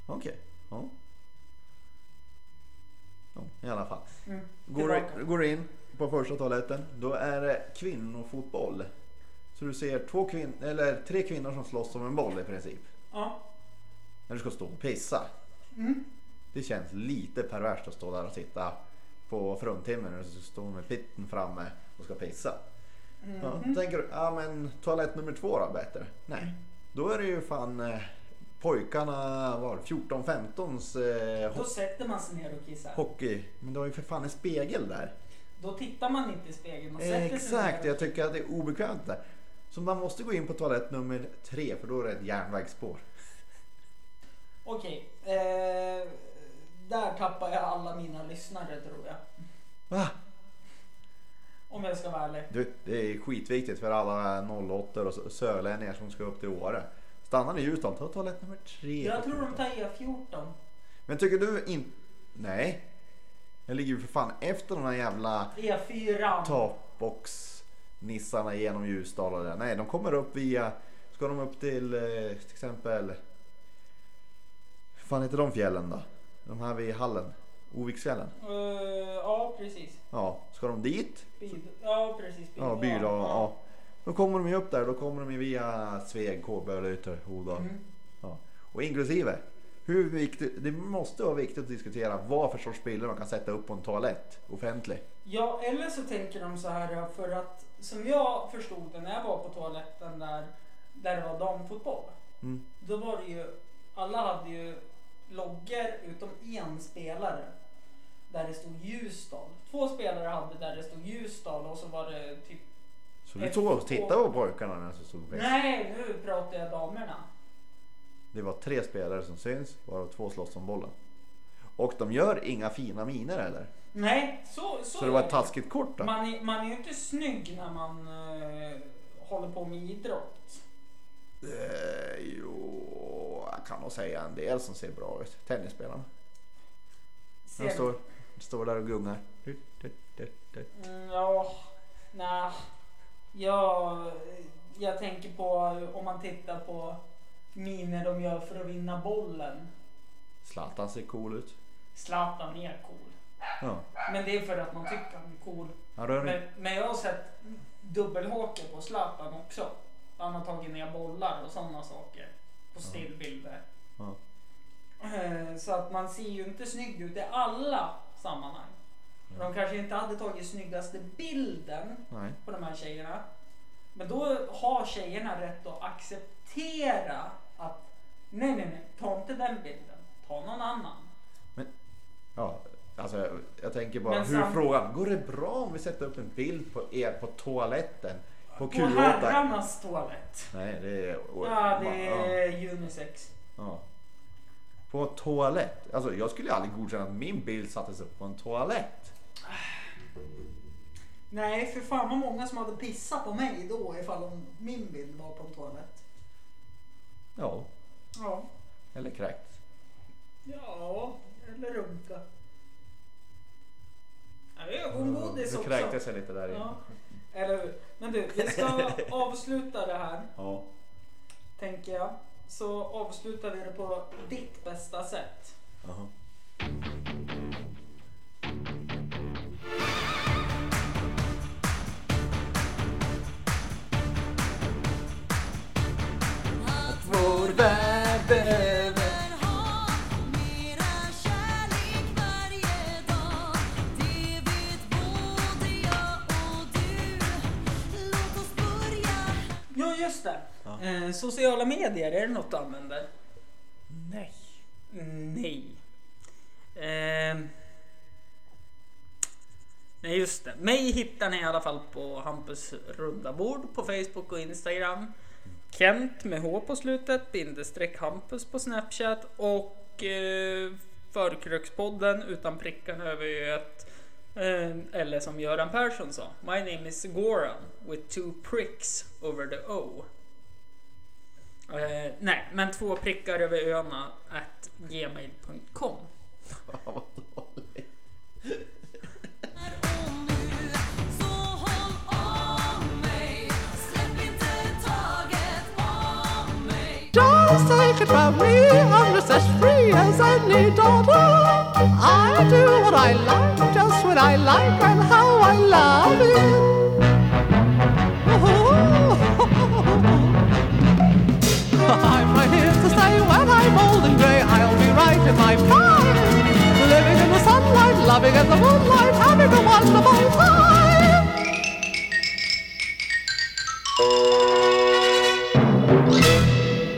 Speaker 3: okej. Ja. ja, i alla fall.
Speaker 2: Mm.
Speaker 3: Går du,
Speaker 2: Tillbaka.
Speaker 3: går du in på första toaletten, då är det kvinnofotboll. Så du ser två kvin eller tre kvinnor som slåss om en boll i princip.
Speaker 2: Ja.
Speaker 3: När du ska stå och pissa.
Speaker 2: Mm.
Speaker 3: Det känns lite perverst att stå där och titta på fruntimmer när du står med pitten framme och ska pissa. Ja, Tänker du, ja men toalett nummer två då bättre? Nej. Då är det ju fan eh, pojkarna, var 14-15s eh,
Speaker 2: Då
Speaker 3: ho-
Speaker 2: sätter man sig ner och kissar.
Speaker 3: hockey. Men du har ju för fan en spegel där.
Speaker 2: Då tittar man inte i spegeln och sätter
Speaker 3: Exakt,
Speaker 2: sig
Speaker 3: jag tycker att det är obekvämt där. Så man måste gå in på toalett nummer tre för då är det ett järnvägsspår.
Speaker 2: Okej, eh, där tappar jag alla mina lyssnare tror jag.
Speaker 3: Va?
Speaker 2: Om jag ska vara ärlig.
Speaker 3: Du, det är skitviktigt för alla 08 och s- sörlänningar som ska upp till Åre. Stannar ni i Ljusdal, ta toalett nummer tre.
Speaker 2: Jag tror de tar E E14.
Speaker 3: Men tycker du inte... Nej. Jag ligger ju för fan efter de här jävla
Speaker 2: E E4.
Speaker 3: tapbox-nissarna genom Ljusdal och det där. Nej, de kommer upp via... Ska de upp till eh, till exempel... fan heter de fjällen då? De här vid hallen? Oviksfjällen?
Speaker 2: Eh, ja, precis.
Speaker 3: Ja, ska de dit?
Speaker 2: Bid. Ja, precis. Bid.
Speaker 3: Ja, Bydal. Ja. Då kommer de ju upp där. Då kommer de ju via Sveg, Kårböle, Ytterhogdal.
Speaker 2: Mm.
Speaker 3: Ja. Och inklusive, hur viktigt, det måste vara viktigt att diskutera vad för sorts bilder man kan sätta upp på en toalett offentlig.
Speaker 2: Ja, eller så tänker de så här ja, för att som jag förstod det när jag var på toaletten där, där det var damfotboll.
Speaker 3: Mm.
Speaker 2: Då var det ju, alla hade ju loggor utom en spelare där det stod Ljusdal. Två spelare hade där det stod Ljusdal och så var det typ,
Speaker 3: Så du tog och tittade på pojkarna när de stod och pissade.
Speaker 2: nej nu pratar jag damerna.
Speaker 3: Det var tre spelare som syns, varav två slåss om bollen. Och de gör inga fina miner eller?
Speaker 2: Nej, så, så,
Speaker 3: Så det var
Speaker 2: är
Speaker 3: ett taskigt kort då?
Speaker 2: Man är, man är ju inte snygg när man eh, håller på med idrott.
Speaker 3: Eh, jo, jag kan nog säga en del som ser bra ut. Tennisspelarna. De
Speaker 2: Ser-
Speaker 3: står, står där och gungar.
Speaker 2: Mm, Ja, nej. Jag, jag tänker på om man tittar på miner de gör för att vinna bollen.
Speaker 3: Zlatan ser cool ut.
Speaker 2: Zlatan är cool.
Speaker 3: Ja.
Speaker 2: Men det är för att man tycker han är cool.
Speaker 3: Han rör
Speaker 2: Men,
Speaker 3: inte.
Speaker 2: men jag har sett dubbelhake på Zlatan också. Han har tagit ner bollar och sådana saker. På stillbilder.
Speaker 3: Ja.
Speaker 2: Eh, Så att man ser ju inte snygg ut i alla sammanhang. De kanske inte hade tagit snyggaste bilden
Speaker 3: Nej.
Speaker 2: på de här tjejerna. Men då har tjejerna rätt att acceptera att nej, nej, nej, ta inte den bilden. Ta någon annan.
Speaker 3: Ja, alltså jag, jag tänker bara
Speaker 2: Men
Speaker 3: hur
Speaker 2: sam-
Speaker 3: frågan. Går det bra om vi sätter upp en bild på er på toaletten? På
Speaker 2: På
Speaker 3: Q8?
Speaker 2: herrarnas toalett.
Speaker 3: Nej, det är...
Speaker 2: Ja, det
Speaker 3: Ja,
Speaker 2: är unisex.
Speaker 3: ja. På toalett? Alltså jag skulle aldrig godkänna att min bild sattes upp på en toalett.
Speaker 2: Nej, för fan vad många som hade pissat på mig då ifall om min bild var på en toalett.
Speaker 3: Ja,
Speaker 2: Ja.
Speaker 3: eller kräkt.
Speaker 2: Ja, eller runka. Ja, Ögongodis
Speaker 3: Du
Speaker 2: också.
Speaker 3: Mm, kräktes jag lite där i.
Speaker 2: Ja, eller hur? Men du, vi ska avsluta det här,
Speaker 3: Ja.
Speaker 2: tänker jag. Så avslutar vi det på ditt bästa sätt.
Speaker 3: Jaha. Vår värld behöver
Speaker 2: Ja, just det.
Speaker 3: Ja.
Speaker 2: Eh, sociala medier, är det något du använder?
Speaker 3: Nej.
Speaker 2: Nej. Ehm. Nej just det. Mig hittar ni i alla fall på Hampus runda bord på Facebook och Instagram. Kent med H på slutet, bindestreck Hampus på Snapchat och eh, Förkrökspodden utan prickarna över öet. Eh, eller som Göran Persson sa, My name is Goran with two pricks over the O. Eh, nej, men två prickar över öarna at gmail.com.
Speaker 3: Fan vad dåligt.
Speaker 1: Just take it from me, I'm just as free as any daughter. I do what I like, just when I like, and how I love it. I'm right here to stay when I'm old and grey. I'll be right in my prime, living in the sunlight, loving in the moonlight, having a wonderful time.